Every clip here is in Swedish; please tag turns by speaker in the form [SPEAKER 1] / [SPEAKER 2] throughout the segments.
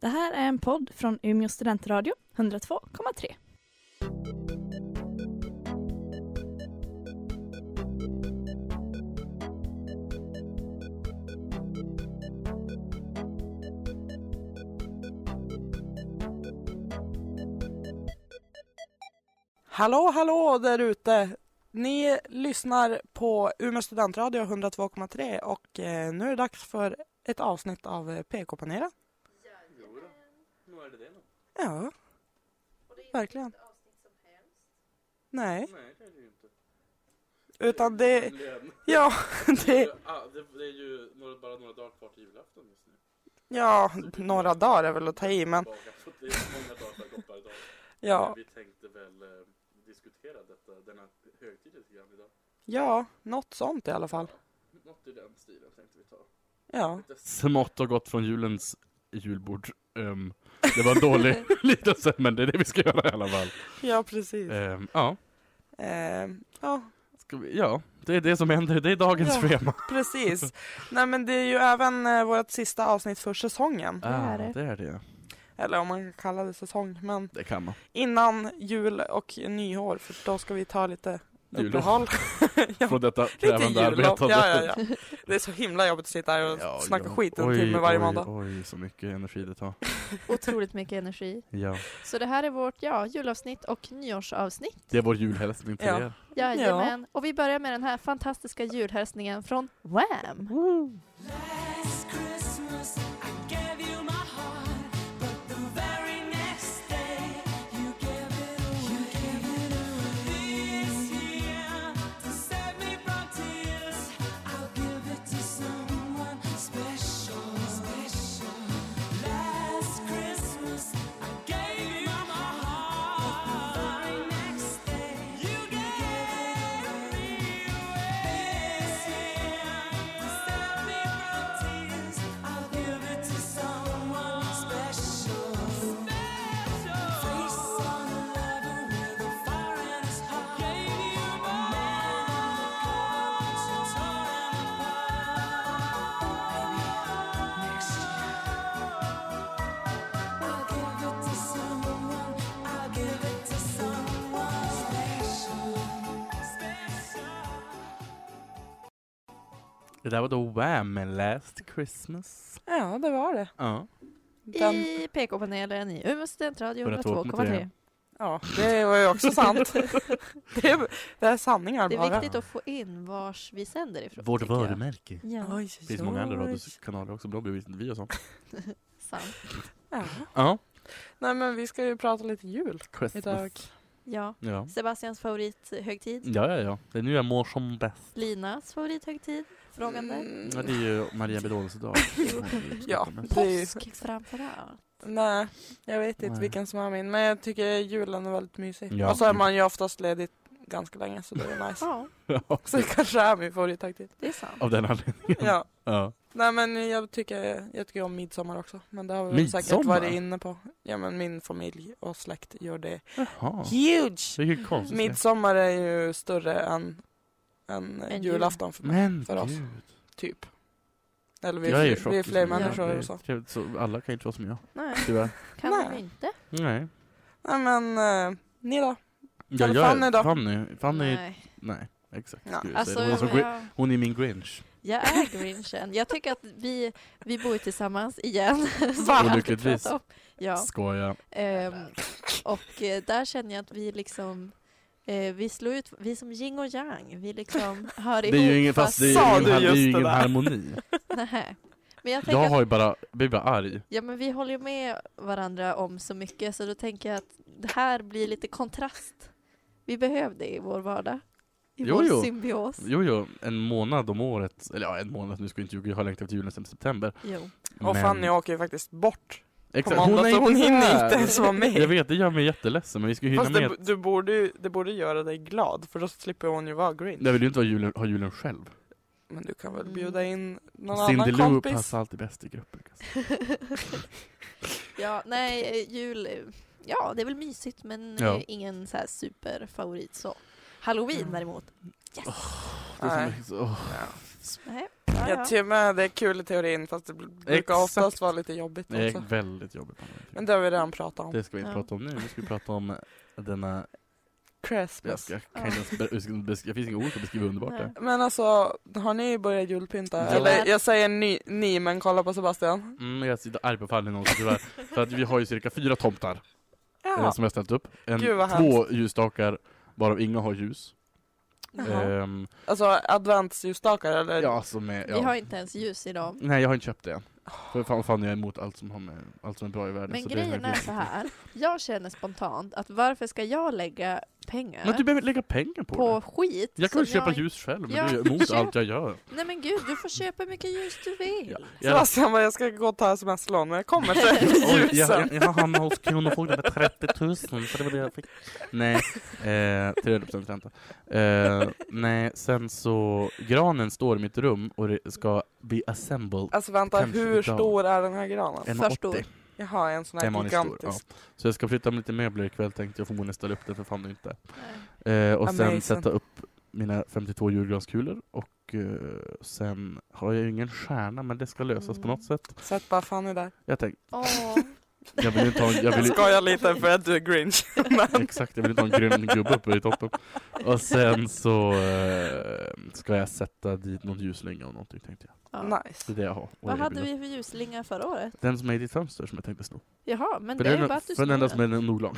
[SPEAKER 1] Det här är en podd från Umeå studentradio, 102,3.
[SPEAKER 2] Hallå, hallå där ute! Ni lyssnar på Umeå studentradio 102,3 och eh, nu är det dags för ett avsnitt av eh, PK-panelen.
[SPEAKER 3] Nu är det det då.
[SPEAKER 2] Ja, verkligen. Nej,
[SPEAKER 3] Nej, det är det ju inte.
[SPEAKER 2] utan det...
[SPEAKER 3] Lön.
[SPEAKER 2] Ja,
[SPEAKER 3] Det,
[SPEAKER 2] det...
[SPEAKER 3] är- ah, det, det är ju några, bara några dagar kvar till julafton just nu.
[SPEAKER 2] Ja, några dagar är väl att ta i, men
[SPEAKER 3] Bara, så det är många dagar som har gått varje dag.
[SPEAKER 2] ja,
[SPEAKER 3] Vi tänkte väl eh, diskutera detta, denna högtid lite grann idag.
[SPEAKER 2] ja, något sånt i alla fall.
[SPEAKER 3] Något i den stilen tänkte vi ta.
[SPEAKER 2] Ja,
[SPEAKER 3] Lite smått och gott från julens julbord. Ehm, det var en dålig liknelse, men det är det vi ska göra i alla fall.
[SPEAKER 2] ja precis.
[SPEAKER 3] Ehm, ja,
[SPEAKER 2] Eh, ja,
[SPEAKER 3] ska vi, ja, det är det som händer. Det är dagens
[SPEAKER 2] Ja.
[SPEAKER 3] schema.
[SPEAKER 2] precis. Nej, men det är ju även eh, vårt sista avsnitt för säsongen.
[SPEAKER 1] är
[SPEAKER 3] Ah,
[SPEAKER 1] det.
[SPEAKER 3] det är det.
[SPEAKER 2] Eller om man kan kalla det säsong, men
[SPEAKER 3] Det kan man.
[SPEAKER 2] innan jul och nyår, för då ska vi ta lite
[SPEAKER 3] Jullov.
[SPEAKER 2] uppehåll. ja,
[SPEAKER 3] Från detta
[SPEAKER 2] lite
[SPEAKER 3] krävande
[SPEAKER 2] jullov. Ja,
[SPEAKER 3] arbetande.
[SPEAKER 2] ja, ja. Det är så himla jobbigt att sitta här och snacka skit en timme varje
[SPEAKER 3] oj,
[SPEAKER 2] måndag.
[SPEAKER 3] Oj, så mycket energi det tar.
[SPEAKER 4] Otroligt mycket energi.
[SPEAKER 3] Ja.
[SPEAKER 4] Så det här är vårt ja, julavsnitt och nyårsavsnitt.
[SPEAKER 3] Det är vår julhälsning till
[SPEAKER 2] Ja.
[SPEAKER 3] er.
[SPEAKER 4] Jajamän. Och vi börjar med den här fantastiska julhälsningen från Wham!
[SPEAKER 5] Last Christmas I gave you my heart, but the very next day you gave it away. This year to save me from tears, I'll give it to someone special. Special. Last Christmas I gave you my heart, but the very next day you gave me away. This year. I'll give it to someone special. Face on a lover with a fire in his heart. Gave you my heart, but apart. next year I'll give it to someone. I'll give it to someone special.
[SPEAKER 3] Det där var då Wham! med Last Christmas.
[SPEAKER 2] Ja, det var det.
[SPEAKER 3] Ja.
[SPEAKER 2] Den,
[SPEAKER 4] I PK-panelen i Umeå studentradio
[SPEAKER 3] 102,3.
[SPEAKER 4] 102,3.
[SPEAKER 2] ja, det var ju också sant. det, är, det är sanningar
[SPEAKER 4] Det
[SPEAKER 2] bara.
[SPEAKER 4] är viktigt att få in vars vi sänder ifrån.
[SPEAKER 3] Vårt
[SPEAKER 4] tycker jag.
[SPEAKER 3] varumärke.
[SPEAKER 4] Ja,
[SPEAKER 2] Oj,
[SPEAKER 3] Det finns många andra radiokanaler också, men de bryr inte vi oss om.
[SPEAKER 4] sant.
[SPEAKER 2] Ja.
[SPEAKER 3] Ja.
[SPEAKER 2] Nej, men vi ska ju prata lite jul idag.
[SPEAKER 4] Ja.
[SPEAKER 3] Ja.
[SPEAKER 4] Sebastians favorithögtid.
[SPEAKER 3] ja, ja, ja. Det är nu jag mår som bäst.
[SPEAKER 4] Linas favorithögtid. Frågande.
[SPEAKER 2] Mm,
[SPEAKER 3] Ja, det är ju Maria Bedolos dag.
[SPEAKER 2] Ja. det är ju-
[SPEAKER 4] Påsk framförallt.
[SPEAKER 2] Nej, jag vet inte
[SPEAKER 3] Nej.
[SPEAKER 2] vilken som är min, men jag tycker julen är väldigt mysig.
[SPEAKER 3] Ja.
[SPEAKER 2] Och så är man ju oftast ledig ganska länge, så det är nice.
[SPEAKER 4] Ja,
[SPEAKER 3] Ja,
[SPEAKER 2] Så det kanske är min favorithögtid.
[SPEAKER 4] det är sant.
[SPEAKER 3] Av den anledningen.
[SPEAKER 2] Ja.
[SPEAKER 3] Ja.
[SPEAKER 2] Nej men jag tycker, jag tycker om midsommar också. Men det har vi väl säkert
[SPEAKER 3] Midsommar?
[SPEAKER 2] varit inne på. Ja men min familj och släkt gör det.
[SPEAKER 3] Jaha.
[SPEAKER 2] Huge!
[SPEAKER 3] Det är ju konstigt.
[SPEAKER 2] Midsommar är ju större än, än
[SPEAKER 4] Än jul.
[SPEAKER 2] julafton för,
[SPEAKER 3] Men
[SPEAKER 2] för oss.
[SPEAKER 3] gud.
[SPEAKER 2] typ. Eller vi,
[SPEAKER 3] Jag är i
[SPEAKER 2] är,
[SPEAKER 3] chock
[SPEAKER 2] vi är
[SPEAKER 3] just
[SPEAKER 2] fler
[SPEAKER 3] nu.
[SPEAKER 2] människor
[SPEAKER 3] Ja, det är
[SPEAKER 2] och så.
[SPEAKER 3] trevligt, så alla kan ju inte vara som jag,
[SPEAKER 4] Nej,
[SPEAKER 3] tyvärr.
[SPEAKER 4] kan
[SPEAKER 2] Nej.
[SPEAKER 4] de ju inte.
[SPEAKER 3] Nej.
[SPEAKER 2] Nej men, eh, ni då?
[SPEAKER 3] Ja,
[SPEAKER 2] Eller
[SPEAKER 3] jag
[SPEAKER 2] Fanny då?
[SPEAKER 3] Fanny, Fanny, nej.
[SPEAKER 4] Nej.
[SPEAKER 3] exakt.
[SPEAKER 2] Ja.
[SPEAKER 3] skulle jag
[SPEAKER 4] Alltså,
[SPEAKER 3] säga. hon, är som Gri-
[SPEAKER 4] jag,
[SPEAKER 3] hon är min Grinch.
[SPEAKER 4] jag är grinchen. Jag tycker att vi, vi bor ju tillsammans igen.
[SPEAKER 2] Va?
[SPEAKER 4] som jag alltid
[SPEAKER 3] Olyckligtvis.
[SPEAKER 4] pratar om. Ja.
[SPEAKER 3] Skoja.
[SPEAKER 4] ehm, och eh, där känner jag att vi liksom eh, vi slår ut, vi är som yin och yang, vi liksom hör
[SPEAKER 3] Det
[SPEAKER 4] ihop.
[SPEAKER 3] är ju ingen, fast det är
[SPEAKER 2] Sa
[SPEAKER 3] ju
[SPEAKER 2] du
[SPEAKER 3] ingen, har- det är
[SPEAKER 2] just
[SPEAKER 3] ju
[SPEAKER 2] det
[SPEAKER 3] ingen
[SPEAKER 2] där?
[SPEAKER 3] harmoni.
[SPEAKER 4] Nähä. Men jag tänker
[SPEAKER 3] Jag
[SPEAKER 4] att,
[SPEAKER 3] har ju bara, blir bara arg.
[SPEAKER 4] ja men vi håller ju med varandra om så mycket så då tänker jag att det här blir lite kontrast. Vi behöver det i vår vardag. I
[SPEAKER 3] Jo,
[SPEAKER 4] vår
[SPEAKER 3] jo.
[SPEAKER 4] symbios.
[SPEAKER 3] Jo, jo, en månad om året, eller ja, en månad, nu ska jag inte ljuga, jag har längtat efter julen sedan september.
[SPEAKER 4] Jo.
[SPEAKER 2] Och Fanny åker ju faktiskt bort
[SPEAKER 3] exakt,
[SPEAKER 2] på måndag så hon hinner
[SPEAKER 3] här.
[SPEAKER 2] inte ens vara
[SPEAKER 3] Jag
[SPEAKER 2] med.
[SPEAKER 3] vet, det gör mig jätteledsen, men vi ska ju hinna
[SPEAKER 2] Fast
[SPEAKER 3] med.
[SPEAKER 2] det, du borde, ju- det borde göra dig glad för då slipper hon ju vara green.
[SPEAKER 3] Jag vill ju inte ha julen, ha julen själv.
[SPEAKER 2] Men du kan väl
[SPEAKER 4] Mm.
[SPEAKER 2] bjuda in någon
[SPEAKER 3] Cindy
[SPEAKER 2] annan
[SPEAKER 3] Lou
[SPEAKER 2] kompis?
[SPEAKER 3] passar alltid bäst i gruppen. alltså.
[SPEAKER 4] Ja, nej, eh, jul, eh, ja det är väl mysigt men eh,
[SPEAKER 3] Ja.
[SPEAKER 4] ingen så här superfavorit så. Halloween
[SPEAKER 2] Mm.
[SPEAKER 4] däremot, yes!
[SPEAKER 3] Det är som-
[SPEAKER 2] Nej.
[SPEAKER 3] så- åh.
[SPEAKER 4] Nej.
[SPEAKER 2] Nej,
[SPEAKER 4] Ja, ja.
[SPEAKER 2] Jag tycker med det är kul i teorin fast det brukar
[SPEAKER 3] Exakt.
[SPEAKER 2] oftast vara lite jobbigt
[SPEAKER 3] Det
[SPEAKER 2] också.
[SPEAKER 3] är väldigt jobbigt.
[SPEAKER 2] Men det har vi redan pratat om.
[SPEAKER 3] Det ska vi inte
[SPEAKER 4] Ja.
[SPEAKER 3] prata om nu. Nu ska vi prata om denna... Jag,
[SPEAKER 2] Christmas.
[SPEAKER 3] ska, jag, kan inte ens be- jag ska inte bes- jag finns inga ord att beskriva underbart
[SPEAKER 4] Nej.
[SPEAKER 3] det
[SPEAKER 2] Men alltså, har ni börjat julpynta?
[SPEAKER 3] Ja.
[SPEAKER 2] Eller jag säger ni, ni men kolla på Sebastian.
[SPEAKER 3] Mm, jag sitter arg på Fanny någonsin tyvärr. För att vi har ju cirka fyra tomtar eh,
[SPEAKER 2] Ja.
[SPEAKER 3] som jag ställt upp. En,
[SPEAKER 2] Gud, vad
[SPEAKER 3] två ljusstakar varav inga har ljus.
[SPEAKER 2] Jaha.
[SPEAKER 3] Ehm,
[SPEAKER 2] Alltså adventsljusstakar eller?
[SPEAKER 3] ja, alltså med,
[SPEAKER 4] Äh, Vi har
[SPEAKER 3] ja.
[SPEAKER 4] inte ens ljus i dem.
[SPEAKER 3] Nej, jag har inte köpt det än. För fan, fan jag är emot allt som, har med, allt som är bra i världen.
[SPEAKER 4] Men
[SPEAKER 3] så det
[SPEAKER 4] grejen är
[SPEAKER 3] verkligen-
[SPEAKER 4] så här. jag känner spontant att varför ska jag lägga pengar
[SPEAKER 3] Men du behöver inte lägga pengar på,
[SPEAKER 4] på
[SPEAKER 3] det.
[SPEAKER 4] skit?
[SPEAKER 3] Jag kan ju
[SPEAKER 4] som
[SPEAKER 3] köpa
[SPEAKER 4] jag-
[SPEAKER 3] ljus själv, men
[SPEAKER 4] Ja,
[SPEAKER 3] du är emot
[SPEAKER 4] köp.
[SPEAKER 3] allt jag gör.
[SPEAKER 4] Nej men gud, du får köpa hur mycket ljus du
[SPEAKER 3] Ja.
[SPEAKER 4] vill.
[SPEAKER 3] Jag-
[SPEAKER 2] Sebastian bara, jag ska gå och ta sms-lån men jag kommer till
[SPEAKER 3] Oj,
[SPEAKER 2] ljusen.
[SPEAKER 3] jag, jag, jag hamnade hos Kronofogden med 30 000, för det var det jag fick. Nej, eh, 300% ränta. Eh, nej, sen så, granen står i mitt rum och det ska bli assembled.
[SPEAKER 2] Alltså vänta,
[SPEAKER 3] Kanske
[SPEAKER 2] hur
[SPEAKER 3] idag.
[SPEAKER 2] stor är den här granen?
[SPEAKER 3] En
[SPEAKER 4] För
[SPEAKER 3] 80.
[SPEAKER 4] stor.
[SPEAKER 2] Jaha, en sån
[SPEAKER 3] Den var
[SPEAKER 2] här
[SPEAKER 3] ni stor, ja.
[SPEAKER 2] gigantisk.
[SPEAKER 3] Så jag ska flytta med lite möbler ikväll tänkte jag, förmodligen ställa upp den för fan inte. Eh, och sen
[SPEAKER 2] Amazing.
[SPEAKER 3] sätta upp mina 52 julgranskulor och eh, sen har jag ju ingen stjärna men det ska lösas på
[SPEAKER 4] Mm.
[SPEAKER 3] något sätt.
[SPEAKER 2] Sätt bara Fanny där.
[SPEAKER 3] Jag tänkte,
[SPEAKER 4] Åh,
[SPEAKER 3] jag vill ju inte ha en, jag
[SPEAKER 2] Jag
[SPEAKER 3] vill, ju-
[SPEAKER 2] skojar lite för att du är grinch. Men
[SPEAKER 3] Exakt, jag vill inte ha en grön gubbe uppe i toppen. Och sen så eh, ska jag sätta dit någon ljusslinga och någonting tänkte jag.
[SPEAKER 4] ja.
[SPEAKER 3] Det
[SPEAKER 2] nice.
[SPEAKER 3] är det jag har. Och
[SPEAKER 4] Vad
[SPEAKER 3] jag
[SPEAKER 4] hade
[SPEAKER 3] vill-
[SPEAKER 4] vi för ljusslinga förra året?
[SPEAKER 3] Den som är i ditt fönster som jag tänkte sno.
[SPEAKER 4] Jaha, men
[SPEAKER 3] För
[SPEAKER 4] det är ju
[SPEAKER 3] den,
[SPEAKER 4] bara att du
[SPEAKER 3] för den enda
[SPEAKER 4] snor
[SPEAKER 3] som är en olag.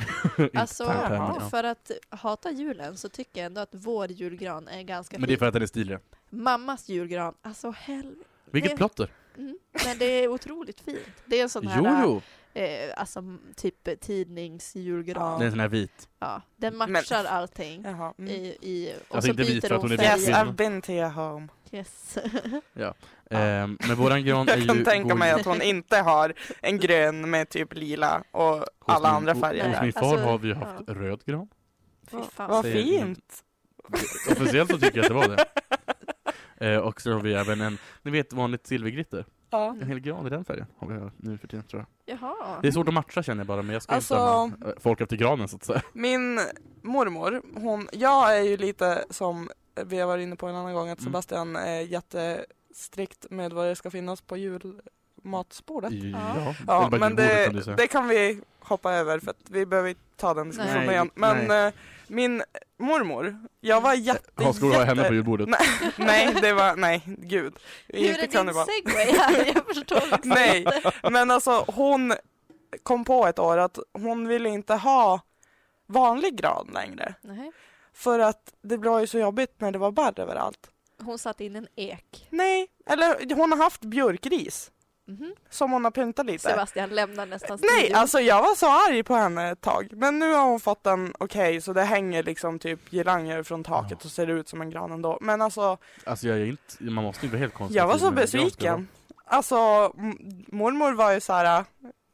[SPEAKER 4] Alltså,
[SPEAKER 3] Tack,
[SPEAKER 2] Jaha.
[SPEAKER 3] Henning, ja.
[SPEAKER 4] för att hata julen så tycker jag ändå att vår julgran är ganska
[SPEAKER 3] Men
[SPEAKER 4] fin.
[SPEAKER 3] det är för att den är stilig.
[SPEAKER 4] Mammas julgran, alltså helvete.
[SPEAKER 3] Vilket
[SPEAKER 4] Det-
[SPEAKER 3] plotter!
[SPEAKER 4] Mm. Men det är otroligt fint. Det är en sån
[SPEAKER 3] Jo,
[SPEAKER 4] här
[SPEAKER 3] jo!
[SPEAKER 4] Eh, alltså m- typ tidningsjulgran.
[SPEAKER 3] Det är
[SPEAKER 4] Ja.
[SPEAKER 3] en sån här vit.
[SPEAKER 4] Den matchar allting.
[SPEAKER 2] Jaha. Mm.
[SPEAKER 4] I, i, och
[SPEAKER 3] Alltså
[SPEAKER 4] så
[SPEAKER 3] inte vit
[SPEAKER 4] byter
[SPEAKER 3] för att hon är
[SPEAKER 4] färg.
[SPEAKER 2] Yes, I've been to your home.
[SPEAKER 4] Yes. Ja.
[SPEAKER 3] Ehm, men våran gran är
[SPEAKER 2] Jag
[SPEAKER 3] ju...
[SPEAKER 2] kan tänka
[SPEAKER 3] går
[SPEAKER 2] mig
[SPEAKER 3] ju-
[SPEAKER 2] att hon inte har en grön med typ lila och
[SPEAKER 3] hos
[SPEAKER 2] alla
[SPEAKER 3] min-
[SPEAKER 2] andra
[SPEAKER 3] hos-
[SPEAKER 2] färger.
[SPEAKER 3] Hos
[SPEAKER 2] där.
[SPEAKER 3] min far
[SPEAKER 4] Alltså,
[SPEAKER 3] har vi ju haft röd gran.
[SPEAKER 4] Fy fan.
[SPEAKER 2] Vad
[SPEAKER 3] Säger-
[SPEAKER 2] fint!
[SPEAKER 3] Officiellt så tycker jag att det var det. Eh, och så har vi även en, ni vet vanligt silverglitter.
[SPEAKER 2] Ja.
[SPEAKER 3] En hel gran i den färgen har vi nu för tiden tror jag.
[SPEAKER 4] Jaha.
[SPEAKER 3] Det är svårt att matcha känner jag bara, men jag ska
[SPEAKER 2] Alltså-
[SPEAKER 3] inte stanna folk efter granen så att säga.
[SPEAKER 2] Min mormor, hon, jag är ju lite som vi har varit inne på en annan gång att
[SPEAKER 3] Mm.
[SPEAKER 2] Sebastian är jättestrikt med vad det ska finnas på julmatsbordet.
[SPEAKER 3] Ja,
[SPEAKER 2] Ja,
[SPEAKER 3] eller
[SPEAKER 2] men
[SPEAKER 3] bara julbordet, kan du
[SPEAKER 2] det,
[SPEAKER 3] säga.
[SPEAKER 2] det kan vi hoppa över för att vi behöver inte ta den diskussionen
[SPEAKER 3] Nej,
[SPEAKER 2] igen.
[SPEAKER 3] nej.
[SPEAKER 2] Men eh, min mormor, jag var jätte...
[SPEAKER 3] Ja, ska du ha henne på
[SPEAKER 2] jätte-
[SPEAKER 3] julbordet?
[SPEAKER 2] Nej, nej, det var, nej, gud.
[SPEAKER 4] Hur
[SPEAKER 2] Inte
[SPEAKER 4] är
[SPEAKER 2] kan det
[SPEAKER 4] din
[SPEAKER 2] vara.
[SPEAKER 4] segway här? Jag förstår liksom
[SPEAKER 2] Nej,
[SPEAKER 4] inte.
[SPEAKER 2] Men alltså hon kom på ett år att hon ville inte ha vanlig gran längre.
[SPEAKER 4] Nej.
[SPEAKER 2] För att det var ju så jobbigt när det var barr överallt.
[SPEAKER 4] Hon satte in en ek.
[SPEAKER 2] Nej, eller hon har haft björkris
[SPEAKER 4] Mhm.
[SPEAKER 2] som hon har pyntat lite.
[SPEAKER 4] Sebastian lämnar nästan
[SPEAKER 2] Nej,
[SPEAKER 4] studion.
[SPEAKER 2] alltså jag var så arg på henne ett tag. Men nu har hon fått den okej, så det hänger liksom typ girlanger från taket och ser ut som en gran ändå. Men alltså,
[SPEAKER 3] Alltså jag är inte, man måste ju vara helt konservativ.
[SPEAKER 2] jag var så
[SPEAKER 3] när en gran ska vara.
[SPEAKER 2] besviken. Alltså, m- mormor var ju så här.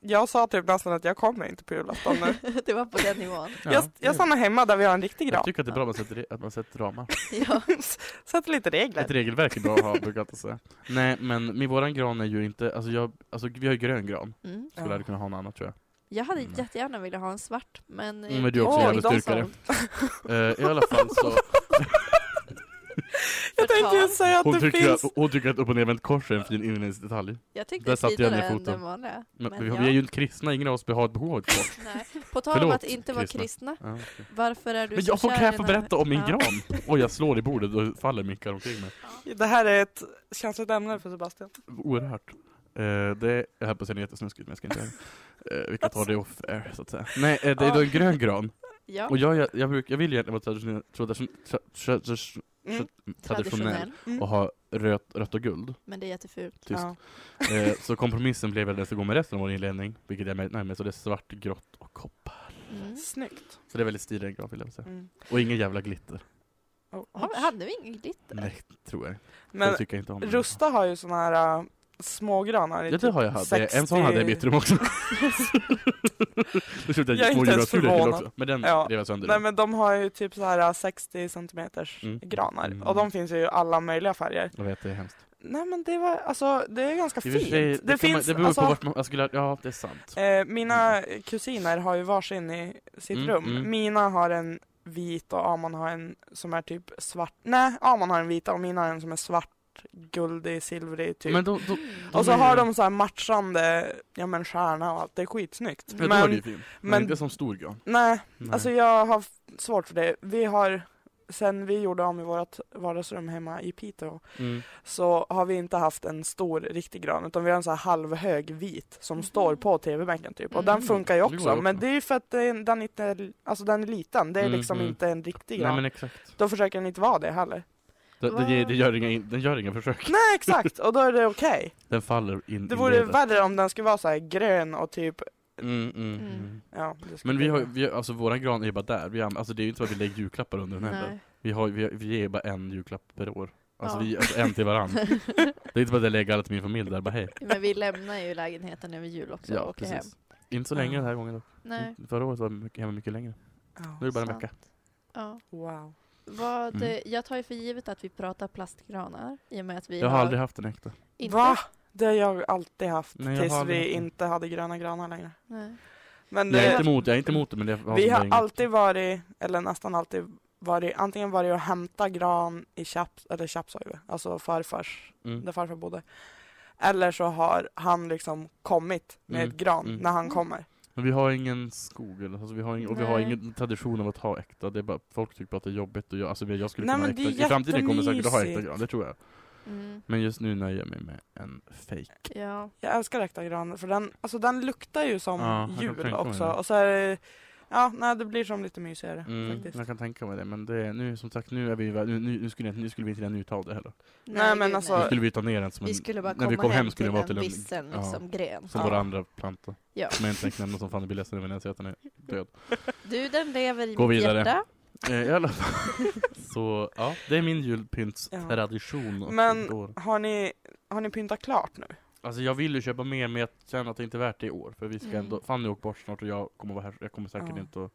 [SPEAKER 2] Jag sa typ nästan att jag kommer inte på julafton nu.
[SPEAKER 4] det var på den nivån.
[SPEAKER 3] Ja,
[SPEAKER 2] jag,
[SPEAKER 3] det är-
[SPEAKER 2] jag stannar hemma där vi har en riktig gran.
[SPEAKER 3] jag tycker att det är bra att man sätter, re- att man sätter ramar.
[SPEAKER 4] Ja.
[SPEAKER 2] Sätt lite regler.
[SPEAKER 3] Ett regelverk är bra att ha, brukar jag alltid säga. Nej, men min våran gran är ju inte, alltså, jag, alltså vi har ju grön gran.
[SPEAKER 4] Mm.
[SPEAKER 3] Skulle
[SPEAKER 2] Ja.
[SPEAKER 3] aldrig kunna ha något annat tror jag.
[SPEAKER 4] Jag hade
[SPEAKER 3] Mm.
[SPEAKER 4] jättegärna velat ha en svart, men... eh,
[SPEAKER 3] Mm, men du är också
[SPEAKER 2] Oj,
[SPEAKER 3] jävligt
[SPEAKER 2] de
[SPEAKER 3] styrkare.
[SPEAKER 4] såld.
[SPEAKER 3] Eh, I alla fall så,
[SPEAKER 2] Jag tänkte ju säga att
[SPEAKER 3] hon
[SPEAKER 2] det
[SPEAKER 3] tycker,
[SPEAKER 2] finns...
[SPEAKER 3] att, hon tycker att upp och nervänt kors är en fin inredningsdetalj.
[SPEAKER 4] Jag tyckte
[SPEAKER 3] Där
[SPEAKER 4] det
[SPEAKER 3] satte jag ner
[SPEAKER 4] finare än
[SPEAKER 3] foten.
[SPEAKER 4] den vanliga.
[SPEAKER 3] Men,
[SPEAKER 4] Men
[SPEAKER 3] vi,
[SPEAKER 4] ja.
[SPEAKER 3] vi är ju inte kristna, ingen av oss har ett behov av ett kors.
[SPEAKER 4] Nej. På tal om
[SPEAKER 3] Förlåt,
[SPEAKER 4] att inte vara
[SPEAKER 3] kristna.
[SPEAKER 4] kristna,
[SPEAKER 3] Ja, okej.
[SPEAKER 4] varför är du
[SPEAKER 3] Men
[SPEAKER 4] så
[SPEAKER 3] jag får
[SPEAKER 4] kär i
[SPEAKER 3] kan jag få
[SPEAKER 4] den här-
[SPEAKER 3] berätta om min
[SPEAKER 4] Ja.
[SPEAKER 3] gran? Oj, jag slår i bordet och faller mickar omkring mig.
[SPEAKER 2] Det här är ett känsligt ämne för Sebastian.
[SPEAKER 3] Oerhört. Eh, det jag höll på att säga något jättesnuskigt, men jag ska inte göra det. Eh, vi kan ta det off air, så att säga. Nej, eh, det är då en grön gran.
[SPEAKER 4] Ja,
[SPEAKER 3] Och jag, jag, jag, bruk, jag vill egentligen vara traditionell, tradition, tra, tra, tra,
[SPEAKER 2] Mm.
[SPEAKER 3] traditionell
[SPEAKER 4] traditionell. Mm.
[SPEAKER 3] och ha rött, rött och guld.
[SPEAKER 4] Men det är jättefult.
[SPEAKER 3] Tyst.
[SPEAKER 2] Ja.
[SPEAKER 3] Eh, så kompromissen blev att den ska gå med resten av vår inledning, vilket jag är väldigt nöjd med. Så det är svart, grått och koppar.
[SPEAKER 4] Mm.
[SPEAKER 2] Snyggt.
[SPEAKER 3] Så det är väldigt stilig en gran, vill jag säga.
[SPEAKER 2] Mm.
[SPEAKER 3] Och ingen jävla glitter.
[SPEAKER 2] Oh,
[SPEAKER 4] Har- Hade vi ingen glitter?
[SPEAKER 3] Nej, tror jag.
[SPEAKER 2] Men
[SPEAKER 3] det tycker jag inte om.
[SPEAKER 2] Rusta har ju såna här äh, smågranar i
[SPEAKER 3] Ja det
[SPEAKER 2] typ
[SPEAKER 3] har jag haft,
[SPEAKER 2] 60...
[SPEAKER 3] en sån hade jag i mitt rum också. Då köpte
[SPEAKER 2] Jag är
[SPEAKER 3] jag små
[SPEAKER 2] inte ens
[SPEAKER 3] julgranskulor till
[SPEAKER 2] förvånad.
[SPEAKER 3] också, men den
[SPEAKER 2] Ja.
[SPEAKER 3] rev jag sönder.
[SPEAKER 2] Nej men de har ju typ så här äh, 60 centimeters
[SPEAKER 3] Mm.
[SPEAKER 2] granar
[SPEAKER 3] Mm.
[SPEAKER 2] och de finns ju i alla möjliga färger.
[SPEAKER 3] Jag vet, det är hemskt.
[SPEAKER 2] Nej men det var alltså det är ganska
[SPEAKER 3] I och för
[SPEAKER 2] fint.
[SPEAKER 3] sig,
[SPEAKER 2] det,
[SPEAKER 3] det, kan man,
[SPEAKER 2] finns
[SPEAKER 3] det beror
[SPEAKER 2] alltså,
[SPEAKER 3] på vart man jag skulle, ja det är sant.
[SPEAKER 2] eh, mina kusiner har ju varsin i sitt
[SPEAKER 3] Mm,
[SPEAKER 2] rum.
[SPEAKER 3] mm.
[SPEAKER 2] Mina har en vit och Amon har en som är typ svart. Nej, Amon har en vit och mina har en som är svart svart, guldig, silvrig typ.
[SPEAKER 3] Men då, då, de
[SPEAKER 2] och så
[SPEAKER 3] är ju-
[SPEAKER 2] har de så här matchande, ja men stjärna och allt, det är skitsnyggt.
[SPEAKER 3] Ja, då är det ju
[SPEAKER 2] men
[SPEAKER 3] fint. Men,
[SPEAKER 2] men-
[SPEAKER 3] inte som stor gran.
[SPEAKER 2] nej,
[SPEAKER 3] Nej.
[SPEAKER 2] Alltså jag har f- svårt för det. Vi har, sen vi gjorde om i vårt vardagsrum hemma i Piteå,
[SPEAKER 3] mm.
[SPEAKER 2] så har vi inte haft en stor riktig gran, utan vi har en så här halvhög vit som
[SPEAKER 4] Mhm.
[SPEAKER 2] står på tv-bänken typ. Och den
[SPEAKER 4] Mm.
[SPEAKER 2] funkar ju
[SPEAKER 3] Mhm. Det går
[SPEAKER 2] också,
[SPEAKER 3] också.
[SPEAKER 2] men det är ju för att den, den, inte är, alltså den är liten. Det är
[SPEAKER 3] Mm,
[SPEAKER 2] liksom
[SPEAKER 3] mm.
[SPEAKER 2] inte en riktig gran.
[SPEAKER 3] Nej men exakt.
[SPEAKER 2] Då försöker den inte vara det heller.
[SPEAKER 3] Det, det, ger- det gör inga, in- den gör inga försök.
[SPEAKER 2] Nej exakt, och då är det okej.
[SPEAKER 3] Den faller in
[SPEAKER 2] Det
[SPEAKER 3] i
[SPEAKER 2] vore
[SPEAKER 3] ledet.
[SPEAKER 2] värre om den skulle vara så här grön och typ,
[SPEAKER 3] Mm, mm,
[SPEAKER 4] Mm.
[SPEAKER 3] mm.
[SPEAKER 2] ja. det skulle
[SPEAKER 3] Men vi
[SPEAKER 2] vara
[SPEAKER 3] har
[SPEAKER 2] bra.
[SPEAKER 3] vi, har- alltså våran gran är ju bara där. Vi, har- alltså det är ju inte så att vi lägger julklappar under den heller.
[SPEAKER 4] Nej.
[SPEAKER 3] Vi, har, vi, har- vi ger bara en julklapp per år. Alltså
[SPEAKER 4] Ja.
[SPEAKER 3] vi, alltså en till varann. Det är inte bara att jag lägger alla till min familj där, bara hej.
[SPEAKER 4] Men vi lämnar ju lägenheten över jul också och
[SPEAKER 3] Ja,
[SPEAKER 4] åker hem.
[SPEAKER 3] precis. Mm. Inte så länge den här gången dock.
[SPEAKER 4] Nej.
[SPEAKER 3] Förra året var jag mycket- hemma mycket längre. Nu är
[SPEAKER 2] Ja.
[SPEAKER 3] det bara en
[SPEAKER 4] sant.
[SPEAKER 3] vecka.
[SPEAKER 4] Ja.
[SPEAKER 2] Wow.
[SPEAKER 4] Vad,
[SPEAKER 3] Mm.
[SPEAKER 4] Jag tar ju för givet att vi pratar plastgranar i och med att vi
[SPEAKER 3] Jag har aldrig haft en äkta.
[SPEAKER 4] Inte?
[SPEAKER 2] Va? Det har jag alltid haft
[SPEAKER 3] Nej, jag
[SPEAKER 2] tills
[SPEAKER 3] har aldrig
[SPEAKER 2] vi
[SPEAKER 3] haft det.
[SPEAKER 2] inte hade gröna granar längre.
[SPEAKER 4] Nej.
[SPEAKER 2] Men
[SPEAKER 3] jag, är
[SPEAKER 2] det,
[SPEAKER 3] inte emot, jag är inte emot det, men det
[SPEAKER 2] vi har
[SPEAKER 3] aldrig-
[SPEAKER 2] alltid varit, eller nästan alltid varit, antingen varit och hämta gran i Chaps, eller Chapshöjve, alltså farfars,
[SPEAKER 3] Mm.
[SPEAKER 2] där farfar bodde. Eller så har han liksom kommit med
[SPEAKER 3] Mm,
[SPEAKER 2] ett gran
[SPEAKER 3] mm.
[SPEAKER 2] när han kommer.
[SPEAKER 3] Men vi har ingen skog, eller, alltså vi har ingen, och vi har
[SPEAKER 4] Nej.
[SPEAKER 3] ingen tradition av att ha äkta. Det är bara, folk tycker bara att det är jobbigt och jag, alltså jag skulle
[SPEAKER 2] Nej,
[SPEAKER 3] kunna ha
[SPEAKER 2] men det
[SPEAKER 3] äkta.
[SPEAKER 2] är
[SPEAKER 3] I framtiden kommer jag säkert att ha äkta
[SPEAKER 2] jättemysigt.
[SPEAKER 3] gran, det tror jag.
[SPEAKER 4] Mm.
[SPEAKER 3] Men just nu nöjer jag mig med en fake.
[SPEAKER 4] Ja.
[SPEAKER 2] Jag älskar äkta gran för den, alltså den luktar ju som
[SPEAKER 3] Ja, jag kan
[SPEAKER 2] jul
[SPEAKER 3] tänka mig
[SPEAKER 2] också.
[SPEAKER 3] det.
[SPEAKER 2] Och så är det, ja, nej det blir som lite mysigare
[SPEAKER 3] Mm.
[SPEAKER 2] faktiskt.
[SPEAKER 3] jag kan tänka mig det, men det, är- nu som sagt, nu, är vi, nu, nu, nu, skulle, jag- nu skulle vi inte redan utta det heller.
[SPEAKER 2] Nej, men
[SPEAKER 4] gud,
[SPEAKER 2] alltså-
[SPEAKER 3] Nu
[SPEAKER 4] nej.
[SPEAKER 3] skulle vi ta ner den som en,
[SPEAKER 4] Vi skulle bara
[SPEAKER 3] när
[SPEAKER 4] komma
[SPEAKER 3] vi kom hem
[SPEAKER 4] hem
[SPEAKER 3] skulle
[SPEAKER 4] till
[SPEAKER 3] det vara
[SPEAKER 4] en
[SPEAKER 3] till en,
[SPEAKER 4] vissen
[SPEAKER 3] ja.
[SPEAKER 4] liksom, gren.
[SPEAKER 3] som
[SPEAKER 2] Ja.
[SPEAKER 3] våra andra planta.
[SPEAKER 4] Ja. Mm.
[SPEAKER 3] Som jag inte tänker nämna som fan är blir ledsen över när jag ser att den är död.
[SPEAKER 4] Du, den lever i
[SPEAKER 3] Gå
[SPEAKER 4] mitt
[SPEAKER 3] vidare.
[SPEAKER 4] hjärta.
[SPEAKER 3] Eh, I alla fall. Så ja, det är min julpyntstradition. och
[SPEAKER 2] Men-
[SPEAKER 3] går.
[SPEAKER 2] Har ni, har ni pyntat klart nu?
[SPEAKER 3] Alltså jag vill ju köpa mer men jag känner att det inte är värt det i år. För vi ska
[SPEAKER 4] Mm.
[SPEAKER 3] ändå, Fanny åker bort snart och jag kommer vara här. Jag kommer säkert
[SPEAKER 2] Ja.
[SPEAKER 3] inte att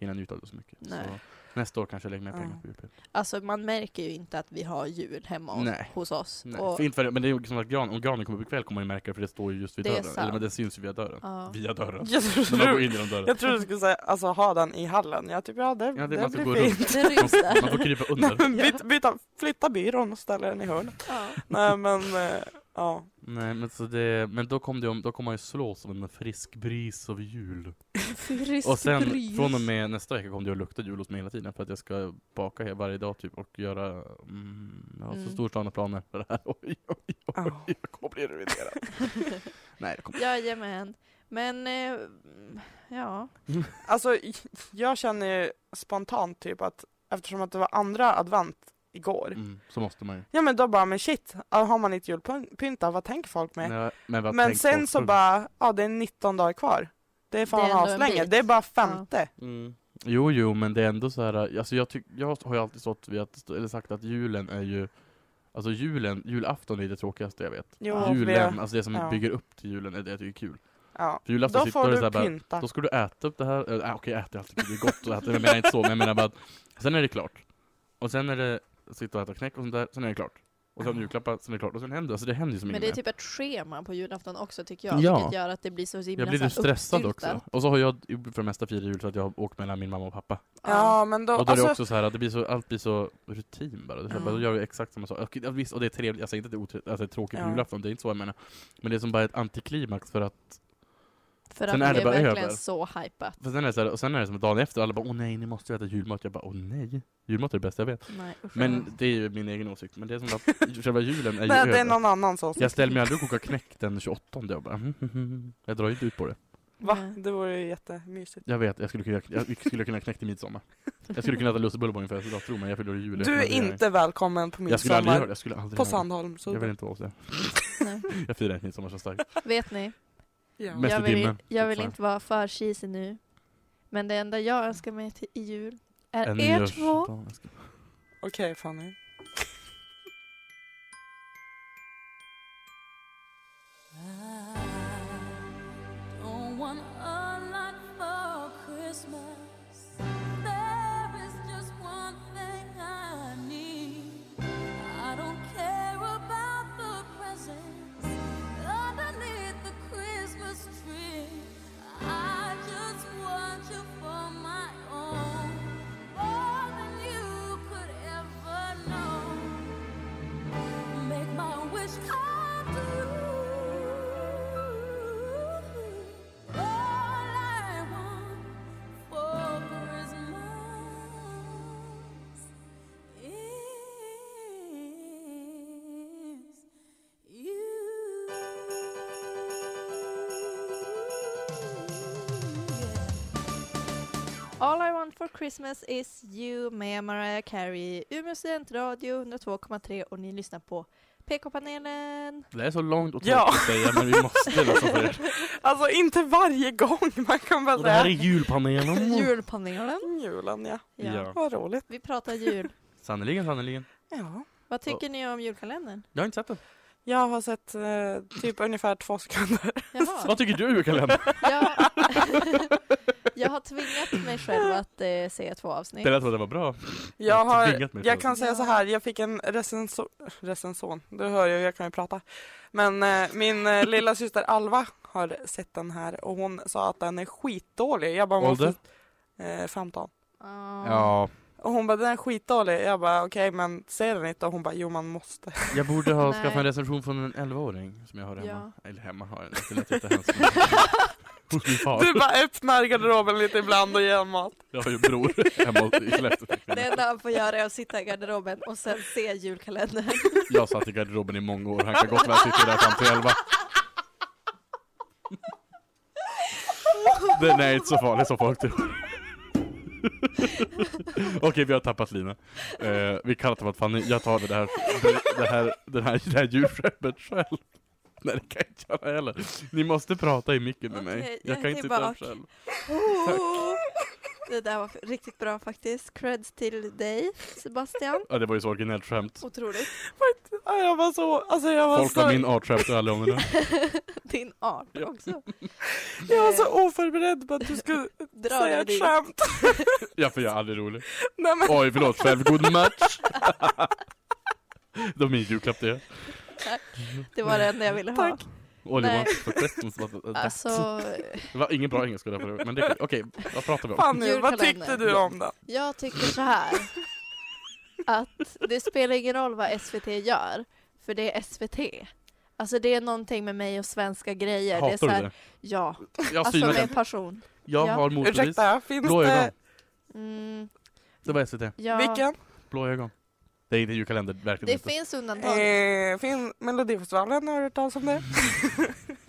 [SPEAKER 3] hinna njuta av det så mycket.
[SPEAKER 4] Nej.
[SPEAKER 3] Så nästa år kanske jag lägger mer
[SPEAKER 2] Ja.
[SPEAKER 3] pengar på julpynt.
[SPEAKER 4] Alltså man märker ju inte att vi har jul hemma hos-
[SPEAKER 3] Nej.
[SPEAKER 4] hos oss.
[SPEAKER 3] Nej,
[SPEAKER 4] Och,
[SPEAKER 3] för inte för, men det är ju som att gran, om granen kommer upp ikväll kommer man ju märka det för det står ju just vid
[SPEAKER 4] Det är
[SPEAKER 3] dörren. Eller
[SPEAKER 4] sant.
[SPEAKER 3] men det syns ju via dörren.
[SPEAKER 4] ja.
[SPEAKER 3] Via dörren.
[SPEAKER 2] Jag
[SPEAKER 3] När man
[SPEAKER 2] tror,
[SPEAKER 3] går in genom dörren.
[SPEAKER 2] jag tror du skulle säga, alltså ha den i hallen. Jag typ, ja det,
[SPEAKER 3] det-
[SPEAKER 2] det,
[SPEAKER 3] man ska gå
[SPEAKER 2] blir
[SPEAKER 3] runt.
[SPEAKER 2] fint.
[SPEAKER 4] Det ryms
[SPEAKER 3] Man
[SPEAKER 4] där.
[SPEAKER 3] får krypa
[SPEAKER 2] Nej,
[SPEAKER 3] under.
[SPEAKER 2] men byt, byta, flytta byrån och ställa den i hörnet.
[SPEAKER 4] ja.
[SPEAKER 2] Nej men, eh, ja.
[SPEAKER 3] Nej men så det, men då kommer kom kom man ju slås av en frisk bris av jul.
[SPEAKER 4] Frisk
[SPEAKER 3] Och sen
[SPEAKER 4] bris.
[SPEAKER 3] från och med nästa vecka kommer det att lukta jul hos mig hela tiden för att jag ska baka he- varje dag typ och göra, mm, jag har så
[SPEAKER 4] Mm.
[SPEAKER 3] storslagna planer för det här. Oj, oj, oj,
[SPEAKER 2] Ja.
[SPEAKER 3] jag kommer bli ruinerad. Nej, det kommer
[SPEAKER 4] Jajamän. Men, eh, ja.
[SPEAKER 2] Alltså jag känner ju spontant typ att eftersom att det var andra advent igår.
[SPEAKER 3] mm, så måste man ju.
[SPEAKER 2] Ja men då bara, men shit, ja, har man inte julpyntat, vad tänker folk med?
[SPEAKER 3] Nej, men vad
[SPEAKER 2] men
[SPEAKER 3] tänk
[SPEAKER 2] sen
[SPEAKER 3] folk
[SPEAKER 2] så
[SPEAKER 3] på.
[SPEAKER 2] bara, ja det är 19 dagar kvar. Det är
[SPEAKER 4] Det är ändå
[SPEAKER 2] fan
[SPEAKER 4] en
[SPEAKER 2] aslänge,
[SPEAKER 4] bit.
[SPEAKER 2] det är bara femte.
[SPEAKER 3] Mm. Jo, jo, men det är ändå så här, alltså jag, tyck, jag har ju alltid stått vid att, eller sagt att julen är ju, alltså julen, julafton är det tråkigaste jag vet.
[SPEAKER 2] Jo,
[SPEAKER 4] Ja.
[SPEAKER 3] julen,
[SPEAKER 2] vi-
[SPEAKER 3] alltså det som
[SPEAKER 2] ja.
[SPEAKER 3] bygger upp till julen är det jag tycker är kul.
[SPEAKER 2] ja.
[SPEAKER 3] För julafton
[SPEAKER 2] Då
[SPEAKER 3] sitter och
[SPEAKER 2] får
[SPEAKER 3] det är så här
[SPEAKER 2] du
[SPEAKER 3] bara,
[SPEAKER 2] pynta.
[SPEAKER 3] Då ska du äta upp det här, eller äh, okej jag äter alltid, det är gott att äta, jag menar inte så, men jag menar bara att sen är det klart. Och sen är det, sitta och äta knäck och sånt där, sen är det klart. Och sen
[SPEAKER 2] Ja.
[SPEAKER 3] julklappar, sen är det klart, och sen händer det, alltså det händer ju som
[SPEAKER 4] Men det är
[SPEAKER 3] inget
[SPEAKER 4] typ ett schema på julafton också tycker jag,
[SPEAKER 3] Ja.
[SPEAKER 4] vilket gör att det blir så
[SPEAKER 3] mer.
[SPEAKER 4] himla
[SPEAKER 3] Jag blir
[SPEAKER 4] så här
[SPEAKER 3] lite stressad
[SPEAKER 4] uppstyltat.
[SPEAKER 3] också. Och så har jag för det mesta firat jul så att jag har åkt mellan min mamma och pappa.
[SPEAKER 2] Ja men då,
[SPEAKER 3] Och då är
[SPEAKER 2] alltså,
[SPEAKER 3] det också så här att det blir så, allt blir så rutin bara. Det är så här,
[SPEAKER 2] Ja.
[SPEAKER 3] bara, Då gör vi exakt samma sak. Och, ja, visst, och det är trevligt, jag säger inte att det är, otrevligt, alltså, det är tråkigt på
[SPEAKER 2] Ja.
[SPEAKER 3] julafton, det är inte så jag menar. Men det är som bara ett antiklimax för att,
[SPEAKER 4] För
[SPEAKER 3] Sen
[SPEAKER 4] att
[SPEAKER 3] är
[SPEAKER 4] det
[SPEAKER 3] det
[SPEAKER 4] är
[SPEAKER 3] bara
[SPEAKER 4] verkligen
[SPEAKER 3] över.
[SPEAKER 4] så hypat.
[SPEAKER 3] för sen är det så här, och sen är det som dagen efter, alla bara åh nej, ni måste ju äta julmat. Jag bara åh nej, julmat är det bästa jag vet.
[SPEAKER 4] Nej, usch.
[SPEAKER 3] Men det är ju min egen åsikt, men det är som att själva julen är
[SPEAKER 2] nej,
[SPEAKER 3] ju
[SPEAKER 2] det är
[SPEAKER 3] över.
[SPEAKER 2] någon annan som
[SPEAKER 3] Jag ställer mig aldrig och kokar knäck den 28 jag bara "Mhm." Jag drar ju inte ut på det.
[SPEAKER 2] Va?
[SPEAKER 4] Nej.
[SPEAKER 2] Det vore ju jättemysigt.
[SPEAKER 3] Jag vet, jag skulle kunna, jag skulle kunna knäcka till midsommar. Jag skulle kunna äta lussebullar på min födelsedag, tro mig, jag fyller i juli.
[SPEAKER 2] Du
[SPEAKER 3] Men
[SPEAKER 2] är
[SPEAKER 3] det gör jag
[SPEAKER 2] inte välkommen på
[SPEAKER 3] Jag skulle aldrig
[SPEAKER 2] midsommar
[SPEAKER 3] göra det, jag skulle aldrig
[SPEAKER 2] på
[SPEAKER 3] göra det.
[SPEAKER 2] Sandholm. Så
[SPEAKER 3] Jag vill inte vara hos det.
[SPEAKER 4] Nej.
[SPEAKER 3] Jag firar inte midsommar så starkt.
[SPEAKER 4] Vet ni,
[SPEAKER 2] ja.
[SPEAKER 3] Mest
[SPEAKER 4] jag
[SPEAKER 3] i
[SPEAKER 4] vill,
[SPEAKER 3] dimmen,
[SPEAKER 4] jag
[SPEAKER 3] typ
[SPEAKER 4] vill
[SPEAKER 3] så här.
[SPEAKER 4] inte vara för cheesy nu. Men det enda jag önskar mig till i jul är
[SPEAKER 3] En
[SPEAKER 4] er
[SPEAKER 3] nyårs-
[SPEAKER 4] två.
[SPEAKER 3] dag, jag ska-
[SPEAKER 2] Okej Fanny.
[SPEAKER 5] I don't want a lot for Christmas. There is just one thing I need. I don't care about the presents underneath the Christmas tree. I just want you for my own, more than you could ever know.
[SPEAKER 4] for Christmas is you med Mariah Carey, Umeå studentradio 102,3 och ni lyssnar på PK-panelen.
[SPEAKER 3] Det är så långt och tråkigt
[SPEAKER 2] Ja.
[SPEAKER 3] att säga, men vi måste lösa för det.
[SPEAKER 2] Alltså inte varje gång man kan väl
[SPEAKER 3] Och det här är
[SPEAKER 2] säga
[SPEAKER 3] julpanelen.
[SPEAKER 4] Julpanelen.
[SPEAKER 2] julen ja.
[SPEAKER 4] Ja.
[SPEAKER 3] Mm. Ja.
[SPEAKER 2] Vad roligt.
[SPEAKER 4] Vi pratar jul.
[SPEAKER 3] Sannerligen, sannerligen.
[SPEAKER 2] Ja.
[SPEAKER 4] Vad tycker ni om julkalendern?
[SPEAKER 3] Jag har inte sett den.
[SPEAKER 2] Jag har sett eh, typ ungefär två sekunder.
[SPEAKER 4] Jaha.
[SPEAKER 3] Vad tycker du, julkalendern?
[SPEAKER 4] Jag, jag har tvingat mig själv att eh, se två avsnitt.
[SPEAKER 3] Det lät som att det var bra.
[SPEAKER 2] Jag,
[SPEAKER 3] har tvingat
[SPEAKER 2] har,
[SPEAKER 3] mig
[SPEAKER 2] jag
[SPEAKER 3] på
[SPEAKER 2] kan
[SPEAKER 4] det.
[SPEAKER 2] säga så här, jag fick en recenso- recenson, du hör ju, jag kan ju prata. Men eh, min eh, lilla syster Alva har sett den här och hon sa att den är skitdålig. Jag bara,
[SPEAKER 3] Ålder?
[SPEAKER 2] måste, eh, 15.
[SPEAKER 4] Ja.
[SPEAKER 3] Ja.
[SPEAKER 2] Och hon bara, den är skitdålig. Jag bara, okej men ser den inte? Och hon bara, jo man måste.
[SPEAKER 3] Jag borde ha
[SPEAKER 4] Nej.
[SPEAKER 3] skaffat en recension från en 11-åring som jag har hemma. Eller hemma har jag den, det lät jättehemskt. men- Hos min far.
[SPEAKER 2] Du bara öppnar garderoben lite ibland och ger mat.
[SPEAKER 3] Jag har ju bror hemma i Skellefteå.
[SPEAKER 4] Det enda han får göra är att sitta i garderoben och sen se julkalendern.
[SPEAKER 3] Jag satt i garderoben i många år, han kan gott väl sitta där fram till 11. Den är inte så farlig som folk tror. Okej, vi har tappat Lina. Eh, vi kan ha tappat Fanny. Jag tar det här, det här, den här, det här djurskämtet själv. Nej, det kan jag inte göra heller. Ni måste prata i micken med mig.
[SPEAKER 4] Okej,
[SPEAKER 3] Jag
[SPEAKER 4] jag
[SPEAKER 3] kan
[SPEAKER 4] är
[SPEAKER 3] inte sitta här
[SPEAKER 4] tillbaka.
[SPEAKER 3] själv.
[SPEAKER 4] Det där var riktigt bra faktiskt. Creds till dig Sebastian.
[SPEAKER 3] Ja, det var ju så originellt skämt.
[SPEAKER 4] Otroligt.
[SPEAKER 2] Ja, Jag var så, alltså jag var
[SPEAKER 3] Folk
[SPEAKER 2] så,
[SPEAKER 3] var min art skämtar aldrig om det. där.
[SPEAKER 4] Din art
[SPEAKER 3] Ja.
[SPEAKER 4] också.
[SPEAKER 2] jag var så oförberedd på att du skulle
[SPEAKER 4] Dra
[SPEAKER 2] säga
[SPEAKER 4] dig
[SPEAKER 2] ett
[SPEAKER 4] dit.
[SPEAKER 2] skämt.
[SPEAKER 3] Jag får göra aldrig rolig.
[SPEAKER 2] Nej, men,
[SPEAKER 3] Oj, förlåt. Självgod match. Det var min julklapp det.
[SPEAKER 4] Det var det enda jag ville ha.
[SPEAKER 2] Tack.
[SPEAKER 3] All
[SPEAKER 4] Nej.
[SPEAKER 3] you want for Christmas was a-
[SPEAKER 4] Alltså,
[SPEAKER 3] Det var ingen bra engelska där förut, men det är okej. vad pratar vi om?
[SPEAKER 2] Fanny, vad tyckte du om den?
[SPEAKER 4] jag tycker så här. Att det spelar ingen roll vad SVT gör, för det är SVT. Alltså det är någonting med mig och svenska grejer. det är
[SPEAKER 3] Hatar
[SPEAKER 4] så
[SPEAKER 3] du
[SPEAKER 4] här,
[SPEAKER 3] det?
[SPEAKER 4] Ja,
[SPEAKER 3] Jag
[SPEAKER 4] alltså
[SPEAKER 3] synar den.
[SPEAKER 4] med passion.
[SPEAKER 3] Jag
[SPEAKER 4] ja.
[SPEAKER 3] har motbevis.
[SPEAKER 2] Ursäkta, finns
[SPEAKER 3] Blå ögon.
[SPEAKER 2] det...
[SPEAKER 4] Mm,
[SPEAKER 3] Det var SVT.
[SPEAKER 4] ja,
[SPEAKER 2] Vilken?
[SPEAKER 3] Blå ögon. Det är inte julkalender, verkligen
[SPEAKER 4] Det
[SPEAKER 3] inte.
[SPEAKER 4] finns undantag.
[SPEAKER 2] Eh, fin... Melodifestivalen, har du hört talas om det?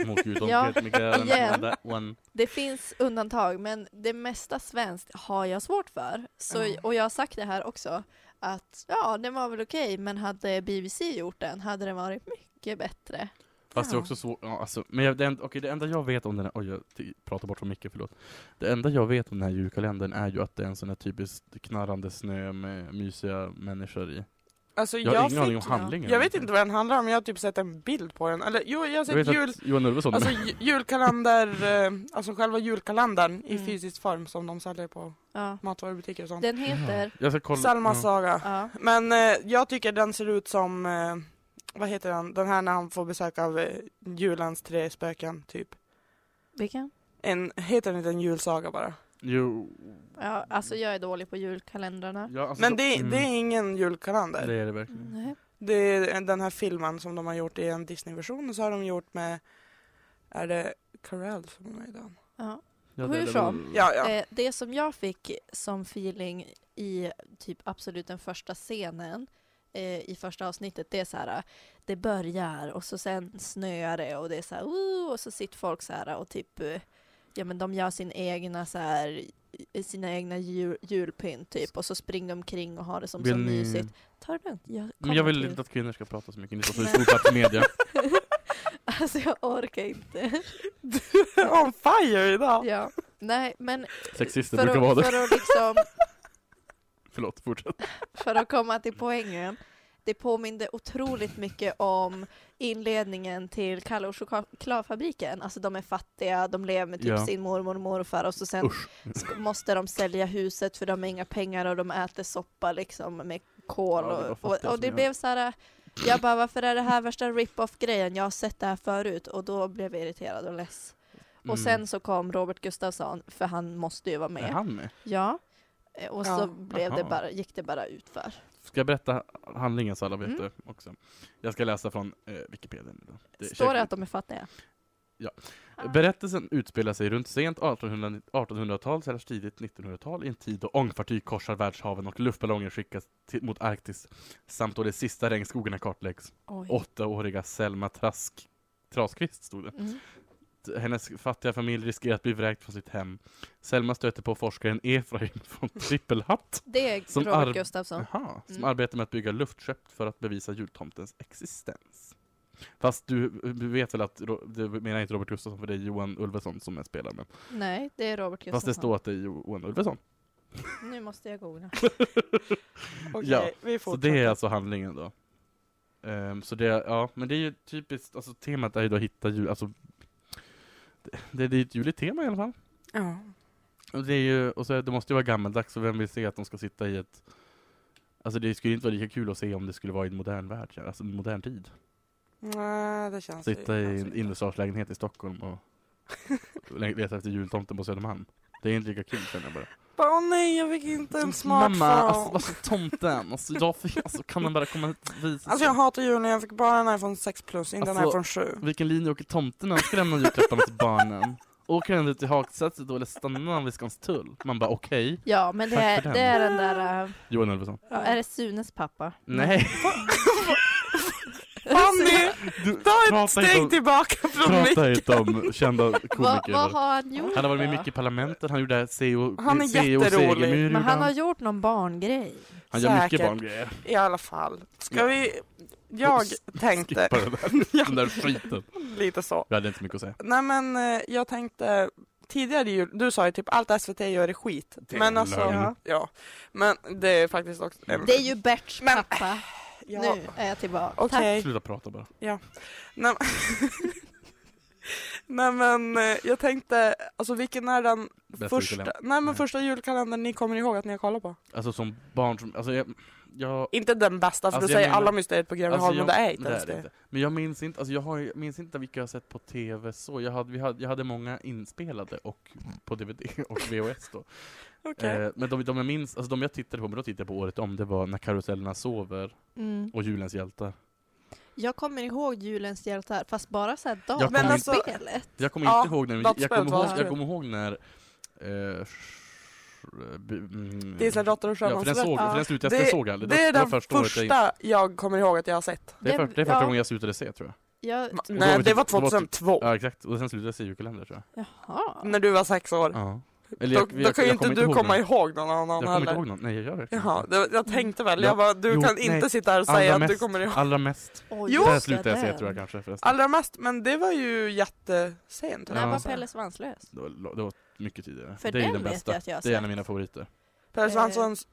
[SPEAKER 3] Mot Gud, don't
[SPEAKER 4] Ja,
[SPEAKER 3] get me going
[SPEAKER 4] igen.
[SPEAKER 3] on that one.
[SPEAKER 4] Det finns undantag, men det mesta svenskt har jag svårt för. Så,
[SPEAKER 2] Ja.
[SPEAKER 4] och jag har sagt det här också, att ja, den var väl okej, men hade BBC gjort den hade den varit mycket bättre.
[SPEAKER 3] Fast det är
[SPEAKER 2] Ja.
[SPEAKER 3] också så, ja, alltså, men jag, det, enda, okej, det enda jag vet om den här, oj jag t- pratar bort för mycket, förlåt. Det enda jag vet om den här julkalendern är ju att det är en sån här typiskt knarrande snö med mysiga människor i.
[SPEAKER 2] Alltså,
[SPEAKER 3] Jag
[SPEAKER 2] jag,
[SPEAKER 3] har ingen aning om
[SPEAKER 2] fick...
[SPEAKER 3] handlingen.
[SPEAKER 2] Jag vet inte vad den handlar om, jag har typ sett en bild på den. Eller jo, jag har
[SPEAKER 3] Jag
[SPEAKER 2] sett
[SPEAKER 3] vet
[SPEAKER 2] jul...
[SPEAKER 3] att Johan Ulveson
[SPEAKER 2] Alltså ju- julkalender, eh, alltså själva julkalendern i
[SPEAKER 4] Mm.
[SPEAKER 2] fysisk form som de säljer på
[SPEAKER 4] Ja.
[SPEAKER 2] matvarubutiker och sånt.
[SPEAKER 4] Den heter...
[SPEAKER 3] Jag ska kolla.
[SPEAKER 2] Salmas
[SPEAKER 3] ja.
[SPEAKER 2] saga.
[SPEAKER 4] Ja.
[SPEAKER 2] Men eh, jag tycker den ser ut som, eh, vad heter den, den här när han får besök av eh, julens tre spöken typ.
[SPEAKER 4] Vilken?
[SPEAKER 2] En, heter den inte en julsaga bara?
[SPEAKER 3] Jo.
[SPEAKER 4] Ja, alltså jag är dålig på julkalendrarna.
[SPEAKER 3] Ja, alltså,
[SPEAKER 2] Men det,
[SPEAKER 3] mm,
[SPEAKER 2] det är ingen julkalender.
[SPEAKER 3] det är det verkligen.
[SPEAKER 4] Nej.
[SPEAKER 2] Det är den här filmen som de har gjort i en Disney-version och så har de gjort med, är det Carell som är med i
[SPEAKER 3] Mm.
[SPEAKER 2] den?
[SPEAKER 4] Ja.
[SPEAKER 3] Ja,
[SPEAKER 4] Hur
[SPEAKER 3] det, det,
[SPEAKER 4] som.
[SPEAKER 3] var-
[SPEAKER 2] Ja, ja.
[SPEAKER 4] Eh, Det som jag fick som feeling i typ absolut den första scenen eh, i första avsnittet, det är så här, eh, det börjar och så sen snöar det och det är så här, "Woo", och så sitter folk så här och typ, eh, ja men de gör sin egna så här, eh, sina egna jul, julpynt typ och så springer de omkring och har det som
[SPEAKER 3] Vill
[SPEAKER 4] så
[SPEAKER 3] ni-
[SPEAKER 4] mysigt. Ta det lugnt, jag
[SPEAKER 3] Men jag
[SPEAKER 4] kommer
[SPEAKER 3] vill
[SPEAKER 4] till-
[SPEAKER 3] inte att kvinnor ska prata så mycket, ni får
[SPEAKER 4] Nej.
[SPEAKER 3] så stor på media.
[SPEAKER 4] Alltså jag orkar inte.
[SPEAKER 2] On fire idag!
[SPEAKER 4] ja. Nej men
[SPEAKER 3] Sexister
[SPEAKER 4] för
[SPEAKER 3] brukar vara
[SPEAKER 4] att,
[SPEAKER 3] det.
[SPEAKER 4] för att liksom
[SPEAKER 3] Förlåt, fortsätt.
[SPEAKER 4] för att komma till poängen. Det påminde otroligt mycket om inledningen till Kalle och chokladfabriken. Alltså de är fattiga, de lever med typ
[SPEAKER 3] Ja.
[SPEAKER 4] sin mormor och morfar och så sen
[SPEAKER 3] Usch.
[SPEAKER 4] sk- måste de sälja huset för de har inga pengar och de äter soppa liksom med kol.
[SPEAKER 3] Ja, det var
[SPEAKER 4] Och, och,
[SPEAKER 3] fattiga
[SPEAKER 4] och det
[SPEAKER 3] som
[SPEAKER 4] blev så här, jag bara varför är det här värsta rip-off grejen? Jag har sett det här förut och då blev jag irriterad och less. Och
[SPEAKER 3] Mm.
[SPEAKER 4] sen så kom Robert Gustafsson, för han måste ju vara
[SPEAKER 3] Är
[SPEAKER 4] med.
[SPEAKER 3] han med?
[SPEAKER 4] Ja. Eh, Och så
[SPEAKER 2] Ja,
[SPEAKER 4] blev det
[SPEAKER 3] aha.
[SPEAKER 4] bara, gick det bara ut för.
[SPEAKER 3] Ska jag berätta handlingen så alla vet
[SPEAKER 4] Mm.
[SPEAKER 3] det också? Jag ska läsa från eh, Wikipedia. nu då.
[SPEAKER 4] Står det att ah. de är fattiga?
[SPEAKER 3] Berättelsen utspelar sig runt sent 1800 1800-tal eller tidigt 1900-tal i en tid då ångfartyg korsar världshaven och luftballonger skickas till, mot Arktis samt då de sista regnskogarna kartläggs.
[SPEAKER 4] Oj.
[SPEAKER 3] Åttaåriga Selma Trask Traskvist stod det.
[SPEAKER 4] Mm.
[SPEAKER 3] att hennes fattiga familj riskerar att bli vräkt från sitt hem. Selma stöter på forskaren Efraim från Trippelhatt
[SPEAKER 4] Det är
[SPEAKER 3] Som
[SPEAKER 4] Robert
[SPEAKER 3] arv-
[SPEAKER 4] Gustafsson.
[SPEAKER 3] Jaha, som
[SPEAKER 4] Mm.
[SPEAKER 3] arbetar med att bygga luftskepp för att bevisa jultomtens existens. Fast du, du vet väl att, Ro- du menar inte Robert Gustafsson för det är Johan Ulveson som är spelaren. men-
[SPEAKER 4] Nej, det är Robert Gustafsson.
[SPEAKER 3] Fast det står att det är Johan Ulveson.
[SPEAKER 4] Nu måste jag googla.
[SPEAKER 2] Okej,
[SPEAKER 3] Ja,
[SPEAKER 2] vi
[SPEAKER 3] Så
[SPEAKER 2] fortsätter.
[SPEAKER 3] det är alltså handlingen då. Ehm, så det, ja, men det är ju typiskt, alltså temat är ju då att hitta jul, alltså det, det, är ju ett juligt tema i alla fall.
[SPEAKER 2] Ja.
[SPEAKER 3] Och det är ju, och så, är- det måste ju vara gammaldags, och vem vill se att de ska sitta i ett Alltså det skulle inte vara lika kul att se om det skulle vara i en modern värld, ja, alltså en modern tid.
[SPEAKER 2] Nej, det känns ju-
[SPEAKER 3] Sitta i
[SPEAKER 2] känns ju
[SPEAKER 3] en
[SPEAKER 2] inte.
[SPEAKER 3] innerstadslägenhet i Stockholm och leta efter jultomten på Södermalm. Det är inte lika kul känner jag bara.
[SPEAKER 2] Bara, åh nej, jag fick inte en smartphone.
[SPEAKER 3] Mamma, alltså,
[SPEAKER 2] alltså,
[SPEAKER 3] alltså tomten, alltså, jag fick, alltså kan den bara komma hit och visa sig?
[SPEAKER 2] Alltså, jag hatar julen, jag fick bara en iPhone 6 plus, inte en
[SPEAKER 3] Alltså-
[SPEAKER 2] iPhone 7.
[SPEAKER 3] Vilken linje åker tomten när han ska lämna julklapparna till barnen? Åker han ut till Hagsätra då eller stannar han vid Skanstull? Man bara okej,
[SPEAKER 4] Ja, men det
[SPEAKER 3] Tack
[SPEAKER 4] är,
[SPEAKER 3] för
[SPEAKER 4] det
[SPEAKER 3] den.
[SPEAKER 4] är den där... äh,
[SPEAKER 3] Johan Ulveson.
[SPEAKER 4] ja, Är det Sunes pappa?
[SPEAKER 3] Nej!
[SPEAKER 2] Fanny,
[SPEAKER 3] Du,
[SPEAKER 2] ta ett
[SPEAKER 3] prata inte
[SPEAKER 2] steg
[SPEAKER 3] om-
[SPEAKER 2] tillbaka från
[SPEAKER 3] Prata
[SPEAKER 2] mig.
[SPEAKER 3] inte om kända
[SPEAKER 4] Vad, vad
[SPEAKER 3] komiker.
[SPEAKER 4] har han gjort
[SPEAKER 3] Han har varit med
[SPEAKER 4] då?
[SPEAKER 3] mycket i Parlamentet, han gjorde E CEO,
[SPEAKER 2] Han är
[SPEAKER 3] CEO
[SPEAKER 2] jätterolig.
[SPEAKER 3] Segemyhr
[SPEAKER 4] Men
[SPEAKER 3] gjorde
[SPEAKER 4] han har gjort någon barngrej.
[SPEAKER 2] Mm.
[SPEAKER 3] han gör mycket
[SPEAKER 2] Säkert.
[SPEAKER 3] barngrejer.
[SPEAKER 2] I alla fall, ska
[SPEAKER 3] Ja.
[SPEAKER 2] vi... Jag tänkte
[SPEAKER 3] Skippa den där, den där skiten.
[SPEAKER 2] lite så.
[SPEAKER 3] Vi hade inte så mycket att säga.
[SPEAKER 2] Nej men eh, jag tänkte tidigare jul, du sa ju typ allt SVT gör är skit.
[SPEAKER 3] Det är
[SPEAKER 2] men
[SPEAKER 3] en
[SPEAKER 2] alltså,
[SPEAKER 3] lögn.
[SPEAKER 2] ja. Men det är faktiskt också... en-
[SPEAKER 4] Det är ju Berts
[SPEAKER 2] Men-
[SPEAKER 4] pappa.
[SPEAKER 2] ja.
[SPEAKER 4] Nu är jag tillbaka.
[SPEAKER 2] Okej.
[SPEAKER 3] Sluta prata bara.
[SPEAKER 2] Nej, men- Nej men eh, jag tänkte, alltså vilken är den
[SPEAKER 3] Bästa
[SPEAKER 2] första,
[SPEAKER 3] julkalendern.
[SPEAKER 2] nej, men
[SPEAKER 3] Nej.
[SPEAKER 2] första julkalendern ni kommer ihåg att ni har kollat på?
[SPEAKER 3] Alltså som barn som, alltså jag, jag
[SPEAKER 2] Inte den bästa för
[SPEAKER 3] Alltså,
[SPEAKER 2] du
[SPEAKER 3] jag
[SPEAKER 2] säger
[SPEAKER 3] menar-
[SPEAKER 2] alla mysteriet-program vi
[SPEAKER 3] Alltså,
[SPEAKER 2] har men det är inte
[SPEAKER 3] det
[SPEAKER 2] ens
[SPEAKER 3] är det
[SPEAKER 2] det.
[SPEAKER 3] inte. Men jag minns inte, alltså jag, har, jag minns inte vilka jag har sett på TV så. Jag hade, vi hade, jag hade många inspelade och på DVD och VHS då.
[SPEAKER 2] Okej.
[SPEAKER 3] Eh, men de, de jag minns, alltså de jag tittade på, men då tittade jag på året om, det var När karusellerna sover
[SPEAKER 4] Mm.
[SPEAKER 3] och Julens hjältar.
[SPEAKER 4] Jag kommer ihåg Julens hjältar, fast bara såhär
[SPEAKER 3] kommer
[SPEAKER 2] Men inte-
[SPEAKER 4] datorspelet.
[SPEAKER 3] Jag kommer
[SPEAKER 2] Ja,
[SPEAKER 3] inte ihåg när, jag
[SPEAKER 2] datorspelet
[SPEAKER 3] kommer
[SPEAKER 2] var
[SPEAKER 3] ihåg, jag
[SPEAKER 2] roligt.
[SPEAKER 3] kommer ihåg när eh, sh- b- mm,
[SPEAKER 2] Disney Drottning och
[SPEAKER 3] Ja, för den,
[SPEAKER 2] Sjömansrätt.
[SPEAKER 3] såg,
[SPEAKER 4] Ja.
[SPEAKER 3] för den slutade jag,
[SPEAKER 2] Det-
[SPEAKER 3] såg jag aldrig.
[SPEAKER 2] Det är
[SPEAKER 3] det var
[SPEAKER 2] den
[SPEAKER 3] första året jag,
[SPEAKER 2] första jag kommer ihåg att jag har sett.
[SPEAKER 3] det är, för, det är första
[SPEAKER 4] ja,
[SPEAKER 3] gången jag slutade se tror jag.
[SPEAKER 4] jag...
[SPEAKER 2] Va-
[SPEAKER 3] då var
[SPEAKER 2] Nej
[SPEAKER 3] vi
[SPEAKER 2] det
[SPEAKER 3] typ-
[SPEAKER 2] var
[SPEAKER 3] då var vi typ-
[SPEAKER 2] 2002,
[SPEAKER 3] Ja exakt, och sen slutade jag se julkalender tror
[SPEAKER 4] Jaha.
[SPEAKER 2] när du var sex år.
[SPEAKER 3] jag. Ja. Eller
[SPEAKER 2] då då kan ju inte
[SPEAKER 3] kommer
[SPEAKER 2] du
[SPEAKER 3] ihåg
[SPEAKER 2] komma
[SPEAKER 3] när-
[SPEAKER 2] ihåg någon
[SPEAKER 3] Jag
[SPEAKER 2] annan
[SPEAKER 3] kommer inte
[SPEAKER 2] heller.
[SPEAKER 3] ihåg någon, nej jag gör det. Mm.
[SPEAKER 2] Jaha, det, jag tänkte väl,
[SPEAKER 3] Ja.
[SPEAKER 2] jag bara, du
[SPEAKER 3] Jo,
[SPEAKER 2] kan
[SPEAKER 3] nej.
[SPEAKER 2] inte sitta här och
[SPEAKER 3] Allra
[SPEAKER 2] säga att du
[SPEAKER 3] mest-
[SPEAKER 2] kommer ihåg.
[SPEAKER 3] Allra mest.
[SPEAKER 4] Oj,
[SPEAKER 2] Jo!
[SPEAKER 3] det här
[SPEAKER 4] just
[SPEAKER 3] slutade jag se
[SPEAKER 4] den.
[SPEAKER 3] tror jag kanske förresten.
[SPEAKER 2] Allra mest, men det var ju jättesent.
[SPEAKER 4] När
[SPEAKER 3] Ja.
[SPEAKER 4] var Pelle Svanslös?
[SPEAKER 3] Det, var, det var mycket tidigare.
[SPEAKER 4] För
[SPEAKER 3] det är ju
[SPEAKER 4] den
[SPEAKER 3] den
[SPEAKER 4] vet
[SPEAKER 3] bästa.
[SPEAKER 4] jag att jag har
[SPEAKER 3] det är en
[SPEAKER 4] sett.
[SPEAKER 3] av mina favoriter.
[SPEAKER 2] Per
[SPEAKER 4] Eh.
[SPEAKER 2] Svanssons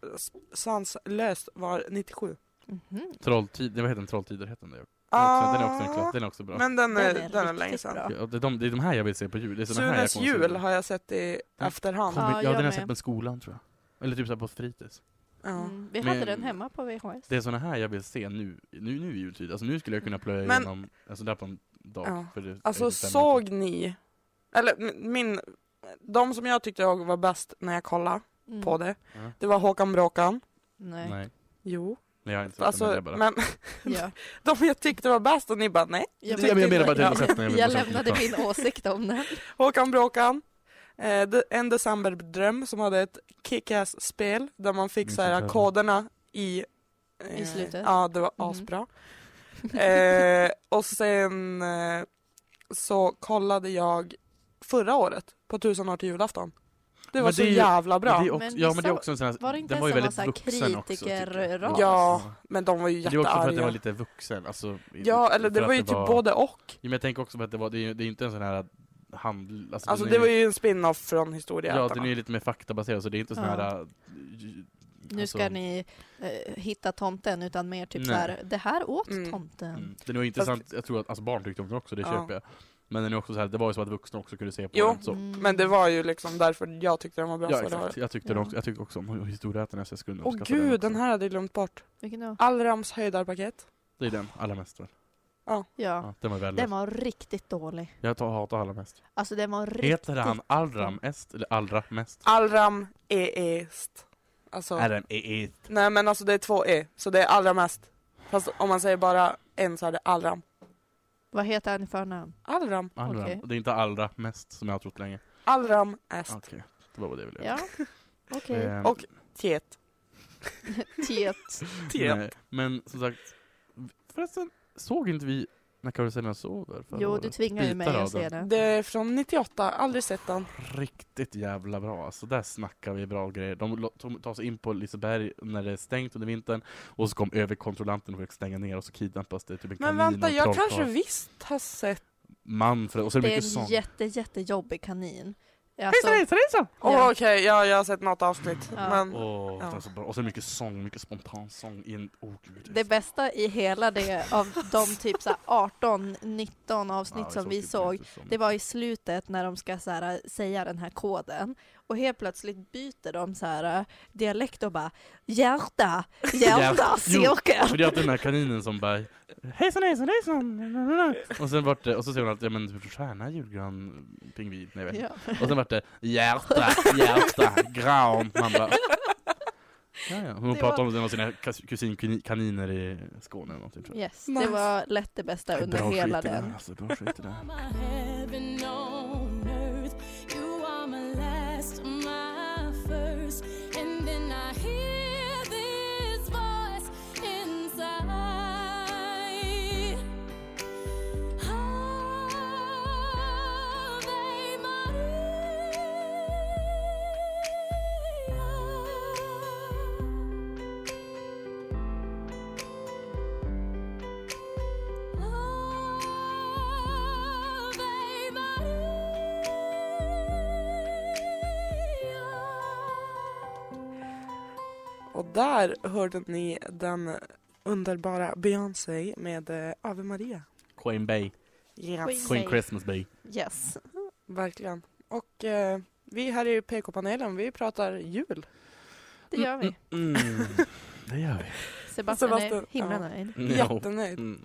[SPEAKER 2] Svanslöst var 97.
[SPEAKER 4] Mhm.
[SPEAKER 3] Trolltid, nej, vad heter den? Trolltider heter den. där. Den är också-
[SPEAKER 2] Ah,
[SPEAKER 3] Den är också en klass, den är också bra.
[SPEAKER 2] Men den är,
[SPEAKER 4] Den är
[SPEAKER 2] den är
[SPEAKER 4] riktigt
[SPEAKER 2] länge sedan.
[SPEAKER 4] bra.
[SPEAKER 3] Ja, det, är de, det är de här jag vill se på jul. Det är såna här jag
[SPEAKER 2] Sunes
[SPEAKER 3] kommer att se.
[SPEAKER 2] jul har jag sett i
[SPEAKER 3] Den
[SPEAKER 2] efterhand.
[SPEAKER 3] Kommer-
[SPEAKER 4] Ja,
[SPEAKER 3] ja,
[SPEAKER 4] jag
[SPEAKER 3] den har jag
[SPEAKER 4] med.
[SPEAKER 3] sett på skolan tror jag. Eller typ så här på fritids.
[SPEAKER 2] Ja.
[SPEAKER 4] Mm. Vi
[SPEAKER 3] Men-
[SPEAKER 4] hade den hemma på VHS.
[SPEAKER 3] Det är såna här jag vill se nu, nu, nu i jultid. Alltså nu skulle jag kunna plöja
[SPEAKER 2] Men-
[SPEAKER 3] igenom, alltså där på en dag.
[SPEAKER 2] Ja.
[SPEAKER 3] För det,
[SPEAKER 2] Alltså
[SPEAKER 3] det stämmer inte.
[SPEAKER 2] såg ni, eller m- min, de som jag tyckte jag var bäst när jag kollade
[SPEAKER 4] Mm.
[SPEAKER 2] på det,
[SPEAKER 3] Ja.
[SPEAKER 2] det var Håkan Bråkan.
[SPEAKER 4] Nej.
[SPEAKER 3] Nej.
[SPEAKER 2] Jo,
[SPEAKER 3] Nej, jag har inte sett den, men
[SPEAKER 2] alltså,
[SPEAKER 3] det är bara.
[SPEAKER 2] men
[SPEAKER 4] Ja.
[SPEAKER 2] de jag tyckte var bäst och ni bara nej.
[SPEAKER 4] Jag,
[SPEAKER 3] jag menar bara att jag
[SPEAKER 4] jag,
[SPEAKER 3] inte sett den, jag
[SPEAKER 4] jag,
[SPEAKER 3] vill bara säga
[SPEAKER 4] lämnade
[SPEAKER 3] att
[SPEAKER 4] min åsikt om den.
[SPEAKER 2] Håkan Bråkan, eh, De- En decemberdröm som hade ett kick-ass spel där man fick
[SPEAKER 3] Minns
[SPEAKER 2] så här
[SPEAKER 3] inte.
[SPEAKER 2] koderna i, eh,
[SPEAKER 4] I slutet.
[SPEAKER 2] Ja, det var
[SPEAKER 4] Mhm.
[SPEAKER 2] asbra. Eh, och sen eh, så kollade jag förra året på Tusen år till julafton. Det
[SPEAKER 3] Men
[SPEAKER 2] var
[SPEAKER 3] det
[SPEAKER 2] så
[SPEAKER 3] är ju-
[SPEAKER 2] jävla bra.
[SPEAKER 3] Men
[SPEAKER 2] Men,
[SPEAKER 3] det är också,
[SPEAKER 4] Men
[SPEAKER 3] ja men det är
[SPEAKER 4] vissa-
[SPEAKER 3] också en sån här,
[SPEAKER 4] var det inte
[SPEAKER 3] den var ju
[SPEAKER 4] ens
[SPEAKER 3] väldigt
[SPEAKER 4] en massa
[SPEAKER 3] vuxen också. tycker jag.
[SPEAKER 4] kritikerras?
[SPEAKER 2] Ja, de var ju
[SPEAKER 3] Men det är också för att den var
[SPEAKER 2] jättearga.
[SPEAKER 3] lite vuxen. Alltså, i-
[SPEAKER 2] Ja, eller
[SPEAKER 3] för
[SPEAKER 2] det
[SPEAKER 3] att
[SPEAKER 2] var ju typ både och.
[SPEAKER 3] Ja, men jag tänker också på att det var, det är ju det är inte en sån här hand...
[SPEAKER 2] Alltså
[SPEAKER 3] den
[SPEAKER 2] det
[SPEAKER 3] är
[SPEAKER 2] var ju en spin-off från Historieätarna.
[SPEAKER 3] Ja, den är ju lite mer faktabaserad så det är inte sån
[SPEAKER 4] Ja.
[SPEAKER 3] här... äh,
[SPEAKER 4] Nu ska
[SPEAKER 3] alltså,
[SPEAKER 4] ni eh, hitta tomten utan mer typ
[SPEAKER 3] Nej.
[SPEAKER 4] så här, det här åt
[SPEAKER 2] Mm.
[SPEAKER 4] tomten.
[SPEAKER 3] Mm. Den var intressant, jag tror att alltså, barn tyckte om den också, det
[SPEAKER 2] Ja.
[SPEAKER 3] köper jag. Men den är också så här, det var ju så att vuxna också kunde se på
[SPEAKER 2] Jo,
[SPEAKER 3] den. Så.
[SPEAKER 4] Mm.
[SPEAKER 2] Men det var ju liksom därför jag tyckte den var bra.
[SPEAKER 3] Ja,
[SPEAKER 2] så det var-
[SPEAKER 3] exakt. Jag tyckte,
[SPEAKER 4] Ja.
[SPEAKER 3] också, jag tyckte också om historieätarna så jag skulle
[SPEAKER 2] Åh
[SPEAKER 3] uppskatta
[SPEAKER 2] gud,
[SPEAKER 3] också.
[SPEAKER 2] den här hade jag glömt bort.
[SPEAKER 4] Vilken då?
[SPEAKER 2] Allrams höjdarpaket.
[SPEAKER 3] Det är den, allra mest väl? Ja.
[SPEAKER 4] Ja.
[SPEAKER 3] den var väl
[SPEAKER 4] Den var riktigt dålig.
[SPEAKER 3] Jag tar, hatar allra mest.
[SPEAKER 4] Alltså den var riktigt...
[SPEAKER 3] Heter han Allram
[SPEAKER 2] Mm.
[SPEAKER 3] Est eller Allra Mest?
[SPEAKER 2] Allram är est. Alltså,
[SPEAKER 3] Allram Est.
[SPEAKER 2] nej men alltså det är två e, så det är allra mest. Fast om man säger bara en så är det allram.
[SPEAKER 4] Vad heter han i förnamn?
[SPEAKER 2] Allram,
[SPEAKER 3] Allram.
[SPEAKER 4] Okej.
[SPEAKER 3] Det är inte Allra Mest som jag har trott länge.
[SPEAKER 2] allram est.
[SPEAKER 3] Okej, det var vad det ville
[SPEAKER 4] Ja, okej.
[SPEAKER 3] Ehm,
[SPEAKER 2] Och- Tiet.
[SPEAKER 4] Tiet.
[SPEAKER 2] Tiet.
[SPEAKER 3] E Nej, men som sagt, förresten såg inte vi När karusellerna sover? förra
[SPEAKER 4] Jo,
[SPEAKER 3] året.
[SPEAKER 4] du tvingar ju mig
[SPEAKER 3] Bitar av
[SPEAKER 4] att se
[SPEAKER 3] den.
[SPEAKER 4] den.
[SPEAKER 2] Det är från 98, aldrig sett den.
[SPEAKER 3] Riktigt jävla bra. Alltså där snackar vi bra grejer. De lo- tog- tar sig in på Liseberg när det är stängt under vintern och så kom överkontrollanten och fick stänga ner och så kidnappas det typ en
[SPEAKER 2] Men
[SPEAKER 3] kanin
[SPEAKER 2] vänta,
[SPEAKER 3] och en
[SPEAKER 2] jag
[SPEAKER 3] trollkarl.
[SPEAKER 2] kanske visst har sett
[SPEAKER 3] Manfred och så är det,
[SPEAKER 4] Det är
[SPEAKER 3] mycket
[SPEAKER 4] en
[SPEAKER 3] sång.
[SPEAKER 4] jätte, jättejobbig kanin. Alltså,
[SPEAKER 3] Hejsan, hejsan, hejsan!
[SPEAKER 2] Åh
[SPEAKER 4] Ja.
[SPEAKER 2] Okej, ja, jag har sett något avsnitt.
[SPEAKER 4] Ja.
[SPEAKER 2] Men
[SPEAKER 3] Åh,
[SPEAKER 2] Ja.
[SPEAKER 3] det är så bra. Och så är det mycket sång, mycket spontan sång i en... Åh gud. det är
[SPEAKER 4] det bästa i hela det av de typ så här 18, 19
[SPEAKER 3] så-
[SPEAKER 4] avsnitt
[SPEAKER 3] Ja,
[SPEAKER 4] som vi
[SPEAKER 3] typ
[SPEAKER 4] såg
[SPEAKER 3] inte som-
[SPEAKER 4] Det var i slutet när de ska så här, eh, säga den här koden och helt plötsligt byter de så här, eh, dialekt och bara hjärta, hjärta,
[SPEAKER 3] Hjärta. Jo.
[SPEAKER 4] cirkel.
[SPEAKER 3] För det är alltid den här kaninen som bara Hejsan hejsan hejsan! Och sen vart det, och så säger hon alltid ja men typ stjärna, julgran, pingvin, nej jag vet inte.
[SPEAKER 4] Ja.
[SPEAKER 3] Och sen vart det hjärta, hjärta, gran. Man bara Ja, ja. Hon
[SPEAKER 4] Det
[SPEAKER 3] pratar
[SPEAKER 4] var-
[SPEAKER 3] om det med sina kas- kusinkaniner i Skåne eller någonting tror jag.
[SPEAKER 4] Yes,
[SPEAKER 2] Nice.
[SPEAKER 4] det var lätt det bästa under
[SPEAKER 3] Bra skit
[SPEAKER 4] hela
[SPEAKER 3] i det här,
[SPEAKER 4] den.
[SPEAKER 3] Alltså, bra skit i det här.
[SPEAKER 5] You're my heaven on earth. You are my last, my first. And then I hear this voice inside. Ave Maria. Ave Maria.
[SPEAKER 2] Och där hörde ni den underbara Beyoncé med eh, Ave Maria.
[SPEAKER 3] Queen Bay,
[SPEAKER 2] Yes,
[SPEAKER 4] Queen
[SPEAKER 3] Queen Christmas Bay.
[SPEAKER 4] Yes.
[SPEAKER 2] verkligen. Och eh, vi här i PK-panelen, vi pratar jul.
[SPEAKER 4] Det gör vi.
[SPEAKER 3] Mm. Det gör vi.
[SPEAKER 4] Sebastian är
[SPEAKER 2] Sebastian,
[SPEAKER 4] himla
[SPEAKER 2] ja.
[SPEAKER 4] nöjd.
[SPEAKER 3] Mm, ja.
[SPEAKER 2] Jättenöjd.
[SPEAKER 3] Mm.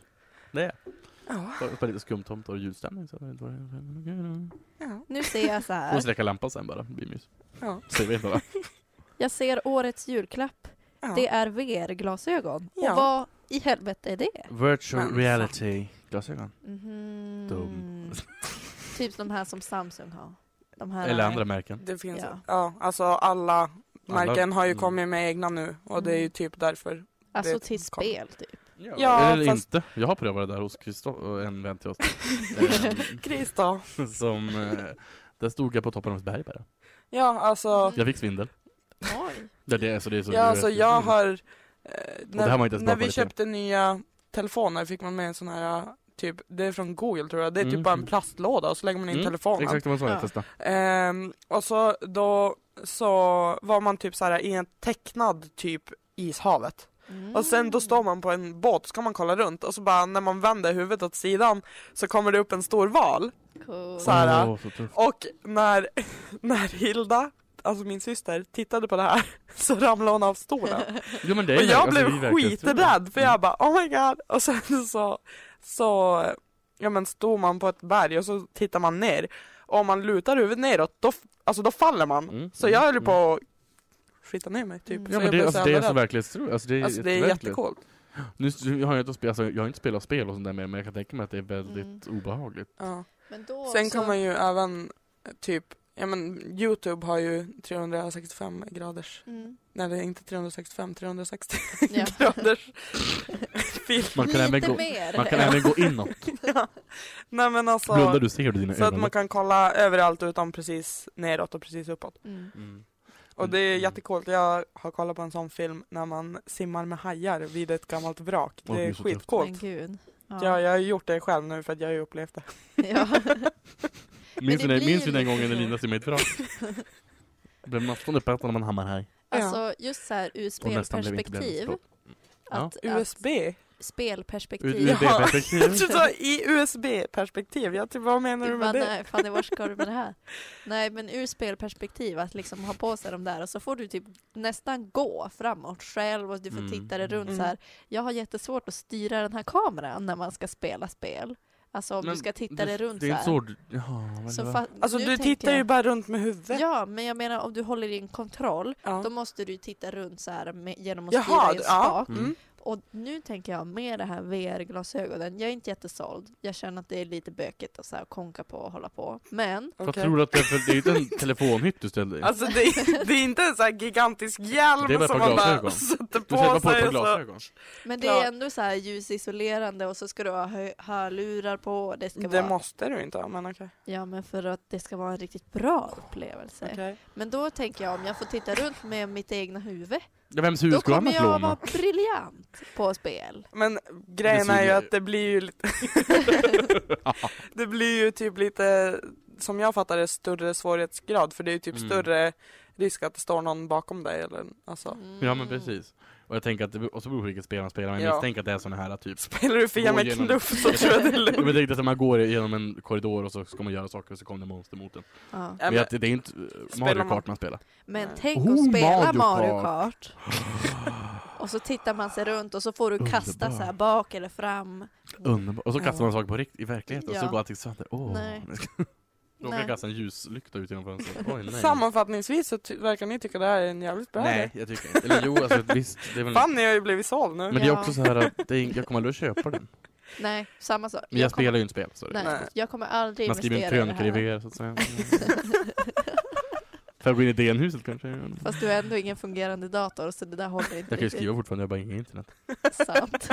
[SPEAKER 3] Det är
[SPEAKER 2] Ja,
[SPEAKER 3] jag. Bara lite skumtomtar och julstämning. Så jag vet vad det är.
[SPEAKER 2] ja.
[SPEAKER 4] Nu ser jag så
[SPEAKER 2] Äh.
[SPEAKER 3] Och
[SPEAKER 4] här.
[SPEAKER 3] släcka lampan sen bara, det blir mys.
[SPEAKER 2] Ja.
[SPEAKER 3] Så jag vet bara.
[SPEAKER 4] Jag ser årets julklapp.
[SPEAKER 2] ja.
[SPEAKER 4] Det är VR-glasögon.
[SPEAKER 2] Ja.
[SPEAKER 4] Och vad i helvete är det?
[SPEAKER 3] Virtual
[SPEAKER 2] Men-
[SPEAKER 3] reality glasögon.
[SPEAKER 4] Mhm.
[SPEAKER 2] Mm,
[SPEAKER 3] Dum.
[SPEAKER 4] Typ de här som Samsung har. De här
[SPEAKER 3] Eller andra märken.
[SPEAKER 2] Det finns, ja.
[SPEAKER 4] Ja.
[SPEAKER 2] alltså alla märken har ju
[SPEAKER 3] mm.
[SPEAKER 2] kommit med egna nu och det är ju
[SPEAKER 4] Mm.
[SPEAKER 2] typ därför.
[SPEAKER 4] Alltså
[SPEAKER 2] det
[SPEAKER 4] till
[SPEAKER 2] kom.
[SPEAKER 4] spel typ.
[SPEAKER 2] Ja,
[SPEAKER 3] Eller
[SPEAKER 2] fast-
[SPEAKER 3] inte. Jag har prövat det där hos Kristoffer, en vän till oss. Ehm,
[SPEAKER 2] Kris då.
[SPEAKER 3] som, eh, där stod jag på toppen av ett berg bara.
[SPEAKER 2] Ja,
[SPEAKER 4] Mm.
[SPEAKER 2] alltså,
[SPEAKER 3] Jag fick svindel.
[SPEAKER 4] Oj.
[SPEAKER 3] Det, det, alltså, det är så
[SPEAKER 2] ja, alltså jag har... Eh,
[SPEAKER 3] det här var
[SPEAKER 2] när
[SPEAKER 3] inte ens typ.
[SPEAKER 2] när
[SPEAKER 3] bra
[SPEAKER 2] vi
[SPEAKER 3] kvalitet.
[SPEAKER 2] köpte nya telefoner fick man med en sån här eh, Typ, det är från Google tror jag, det är typ
[SPEAKER 3] Mm.
[SPEAKER 2] bara en plastlåda och så lägger man in
[SPEAKER 3] Mm,
[SPEAKER 2] telefonen.
[SPEAKER 3] Exakt vad man sa,
[SPEAKER 4] Ja.
[SPEAKER 3] jag testade.
[SPEAKER 2] Ehm, och så då så var man typ så här i en tecknad typ ishavet.
[SPEAKER 4] Mm.
[SPEAKER 2] Och sen då står man på en båt, så kan man kolla runt och så bara när man vänder huvudet åt sidan så kommer det upp en stor val.
[SPEAKER 4] Cool.
[SPEAKER 2] Så här,
[SPEAKER 3] Åh, så tufft.
[SPEAKER 2] Och när, när Hilda, alltså min syster, tittade på det här så ramlade hon av stolen.
[SPEAKER 3] Jo, men det är
[SPEAKER 2] Och
[SPEAKER 3] verk-
[SPEAKER 2] jag
[SPEAKER 3] alltså,
[SPEAKER 2] blev
[SPEAKER 3] det är verkligen stor.
[SPEAKER 2] skiträdd för jag bara oh my god och sen så, så ja men stod man på ett berg och så tittar man ner och om man lutar huvudet neråt då, f- alltså då faller man.
[SPEAKER 3] Mm,
[SPEAKER 2] Så
[SPEAKER 3] mm,
[SPEAKER 2] jag höll ju
[SPEAKER 3] mm.
[SPEAKER 2] på att skita ner mig typ.
[SPEAKER 4] Mm.
[SPEAKER 2] för
[SPEAKER 3] Ja
[SPEAKER 2] jag
[SPEAKER 3] men
[SPEAKER 2] blev
[SPEAKER 3] det, alltså, det är
[SPEAKER 2] jävla
[SPEAKER 3] så
[SPEAKER 2] rädd.
[SPEAKER 3] verklighetstroligt, alltså det är,
[SPEAKER 2] Alltså det är
[SPEAKER 3] jätteverkligt.
[SPEAKER 2] jättecoolt.
[SPEAKER 3] Nu s- jag har jag inte spelat, alltså, jag har inte spelat spel och sånt där mer, men jag kan tänka mig att det är väldigt
[SPEAKER 4] Mm.
[SPEAKER 3] obehagligt.
[SPEAKER 2] Ja.
[SPEAKER 4] Men då
[SPEAKER 2] Sen
[SPEAKER 4] också-
[SPEAKER 2] kan man ju även eh, typ, ja men Youtube har ju 365 graders,
[SPEAKER 4] Mm.
[SPEAKER 2] nej det är inte 365, 360
[SPEAKER 4] Ja.
[SPEAKER 2] graders film.
[SPEAKER 3] Man kan, även
[SPEAKER 4] Lite
[SPEAKER 3] gå,
[SPEAKER 4] mer.
[SPEAKER 3] man kan även gå inåt.
[SPEAKER 2] Ja. Nej men
[SPEAKER 3] Blundar
[SPEAKER 2] alltså,
[SPEAKER 3] du ser du dina
[SPEAKER 2] så att
[SPEAKER 3] ögon.
[SPEAKER 2] man kan kolla överallt utom precis neråt och precis uppåt.
[SPEAKER 4] Mm.
[SPEAKER 3] Mm.
[SPEAKER 2] Och det är
[SPEAKER 3] Mm.
[SPEAKER 2] jättecoolt, jag har kollat på en sån film när man simmar med hajar vid ett gammalt vrak.
[SPEAKER 3] Åh,
[SPEAKER 2] Det
[SPEAKER 3] det
[SPEAKER 2] är
[SPEAKER 3] är så tufft.
[SPEAKER 4] Men
[SPEAKER 2] skitcoolt.
[SPEAKER 4] gud. Alltså.
[SPEAKER 2] Ja, jag har gjort det själv nu för att jag har ju upplevt det.
[SPEAKER 4] Ja.
[SPEAKER 3] Minns,
[SPEAKER 4] det
[SPEAKER 3] du den-
[SPEAKER 4] blir
[SPEAKER 3] minns du den
[SPEAKER 4] lite
[SPEAKER 3] gången
[SPEAKER 4] så.
[SPEAKER 3] Elina simmade i ett vrak? Blev nästan uppäten när man hamnar här.
[SPEAKER 4] Alltså just så här ur
[SPEAKER 3] Och nästan blev inte
[SPEAKER 4] spelperspektiv.
[SPEAKER 3] bländad. Ja.
[SPEAKER 4] Att, att
[SPEAKER 2] USB?
[SPEAKER 4] spelperspektiv.
[SPEAKER 3] Ur
[SPEAKER 2] Jaha.
[SPEAKER 3] USB-perspektiv.
[SPEAKER 2] Jag trodde Alltså, du sa i USB-perspektiv, jag typ, vad menar du
[SPEAKER 4] Du
[SPEAKER 2] med
[SPEAKER 4] bara,
[SPEAKER 2] det?
[SPEAKER 4] nej, Fanny, var ska du med det här? Nej, men ur spelperspektiv att liksom ha på sig de där och så får du typ nästan gå framåt själv och du får
[SPEAKER 3] Mm.
[SPEAKER 4] titta dig runt
[SPEAKER 2] Mm.
[SPEAKER 4] så här. Jag har jättesvårt att styra den här kameran när man ska spela spel. Alltså om
[SPEAKER 3] Men
[SPEAKER 4] du ska titta dig runt
[SPEAKER 3] Det är inte
[SPEAKER 4] så
[SPEAKER 3] så...
[SPEAKER 4] här.
[SPEAKER 3] du- Jaha, vad
[SPEAKER 4] Så
[SPEAKER 3] det var.
[SPEAKER 4] fa-
[SPEAKER 2] Alltså
[SPEAKER 4] nu
[SPEAKER 2] du
[SPEAKER 4] tänker
[SPEAKER 2] tittar ju
[SPEAKER 4] jag-
[SPEAKER 2] bara runt med huvudet.
[SPEAKER 4] Ja, men jag menar om du håller i en kontroll
[SPEAKER 2] Ja.
[SPEAKER 4] då måste du titta runt så här med, genom att
[SPEAKER 2] Jaha,
[SPEAKER 4] styra i en
[SPEAKER 2] ja.
[SPEAKER 4] spak.
[SPEAKER 3] Mm.
[SPEAKER 4] Och nu tänker jag med det här VR-glasögonen, jag är inte jättesåld. Jag känner att det är lite bökigt att så här konka på och hålla på. Men
[SPEAKER 3] Vad
[SPEAKER 2] Okej.
[SPEAKER 3] tror du att det är för... Det är ju inte en telefonhytt du ställde i.
[SPEAKER 2] Alltså det, är- det är inte en sån här gigantisk hjälm
[SPEAKER 3] Det är bara
[SPEAKER 2] som
[SPEAKER 3] ett par
[SPEAKER 2] man bara
[SPEAKER 3] glasögon.
[SPEAKER 2] sätter
[SPEAKER 3] du sätter bara
[SPEAKER 2] på
[SPEAKER 3] på ett
[SPEAKER 2] sig.
[SPEAKER 3] par
[SPEAKER 2] och så.
[SPEAKER 3] glasögon.
[SPEAKER 4] Men det
[SPEAKER 2] Ja.
[SPEAKER 4] är ändå så här ljusisolerande och så ska du ha hö- hörlurar på. och Det ska
[SPEAKER 2] Det
[SPEAKER 4] vara,
[SPEAKER 2] måste du inte ha, men okej.
[SPEAKER 4] ja, men för att det ska vara en riktigt bra upplevelse.
[SPEAKER 2] Okej.
[SPEAKER 4] Men då tänker jag om jag får titta runt med mitt egna huvud,
[SPEAKER 3] Ja, vems
[SPEAKER 4] då
[SPEAKER 3] hus går
[SPEAKER 4] kommer
[SPEAKER 3] annars
[SPEAKER 4] jag vara
[SPEAKER 3] låna?
[SPEAKER 4] briljant på spel.
[SPEAKER 2] Men grejen
[SPEAKER 3] Det
[SPEAKER 2] är ju
[SPEAKER 3] suger.
[SPEAKER 2] att det blir ju lite... det blir ju typ lite, som jag fattar det, större svårighetsgrad för det är ju typ
[SPEAKER 3] Mm.
[SPEAKER 2] större risk att det står någon bakom dig eller
[SPEAKER 4] Mm.
[SPEAKER 2] alltså.
[SPEAKER 3] Ja men precis. Och jag tänker att det beror- och så beror det på vilket spel man spelar, men
[SPEAKER 2] Ja.
[SPEAKER 3] jag misstänker att det är sådana här typ
[SPEAKER 2] Spelar du fel
[SPEAKER 3] Gå
[SPEAKER 2] med
[SPEAKER 3] igenom-
[SPEAKER 2] knuff så tror jag det är lugnt.
[SPEAKER 3] Ja, men det är riktigt att man går genom en korridor och så ska man göra saker och så kommer det monster mot en.
[SPEAKER 4] Ja.
[SPEAKER 2] Ja,
[SPEAKER 3] men
[SPEAKER 2] men,
[SPEAKER 3] att det, det är inte eh, Mario
[SPEAKER 2] man-
[SPEAKER 3] Kart man spelar.
[SPEAKER 4] Men
[SPEAKER 2] Nej.
[SPEAKER 4] tänk
[SPEAKER 3] Oh,
[SPEAKER 4] att spela
[SPEAKER 3] Mario
[SPEAKER 4] Mario
[SPEAKER 3] Kart.
[SPEAKER 4] Kart. Och så tittar man sig runt och så får du kasta
[SPEAKER 3] Underbart.
[SPEAKER 4] så här bak eller fram.
[SPEAKER 3] Underbart. Och så
[SPEAKER 2] Ja.
[SPEAKER 3] kastar man saker på rikt i verkligheten och
[SPEAKER 4] Ja.
[SPEAKER 3] så går allting sönder. Åh.
[SPEAKER 4] Nej.
[SPEAKER 3] Råkar
[SPEAKER 4] Nej.
[SPEAKER 3] kasta en ljuslykta ut genom fönstret. Oj nej.
[SPEAKER 2] sammanfattningsvis så ty- verkar ni tycka det här är en jävligt bra
[SPEAKER 3] Nej,
[SPEAKER 2] idé.
[SPEAKER 3] jag tycker inte. Eller jo, alltså visst. Det är väl...
[SPEAKER 2] Fan, ni har ju blivit såld nu.
[SPEAKER 3] Men det är
[SPEAKER 4] Ja.
[SPEAKER 3] också så här att det är, jag kommer aldrig att köpa den.
[SPEAKER 4] Nej, samma sak.
[SPEAKER 3] Men jag,
[SPEAKER 4] kommer-
[SPEAKER 3] spelar ju inte spel. Så det-
[SPEAKER 4] Nej,
[SPEAKER 2] Nej.
[SPEAKER 4] jag kommer aldrig
[SPEAKER 3] Man skriver en
[SPEAKER 4] investera i det
[SPEAKER 3] krönika i
[SPEAKER 4] här.
[SPEAKER 3] VR så att säga. Fäbrin Idén-huset kanske? Jag vet inte.
[SPEAKER 4] Fast du har ändå ingen fungerande dator så det där håller inte
[SPEAKER 3] Jag kan ju
[SPEAKER 4] riktigt.
[SPEAKER 3] skriva fortfarande, jag har bara inget internet.
[SPEAKER 4] Sant.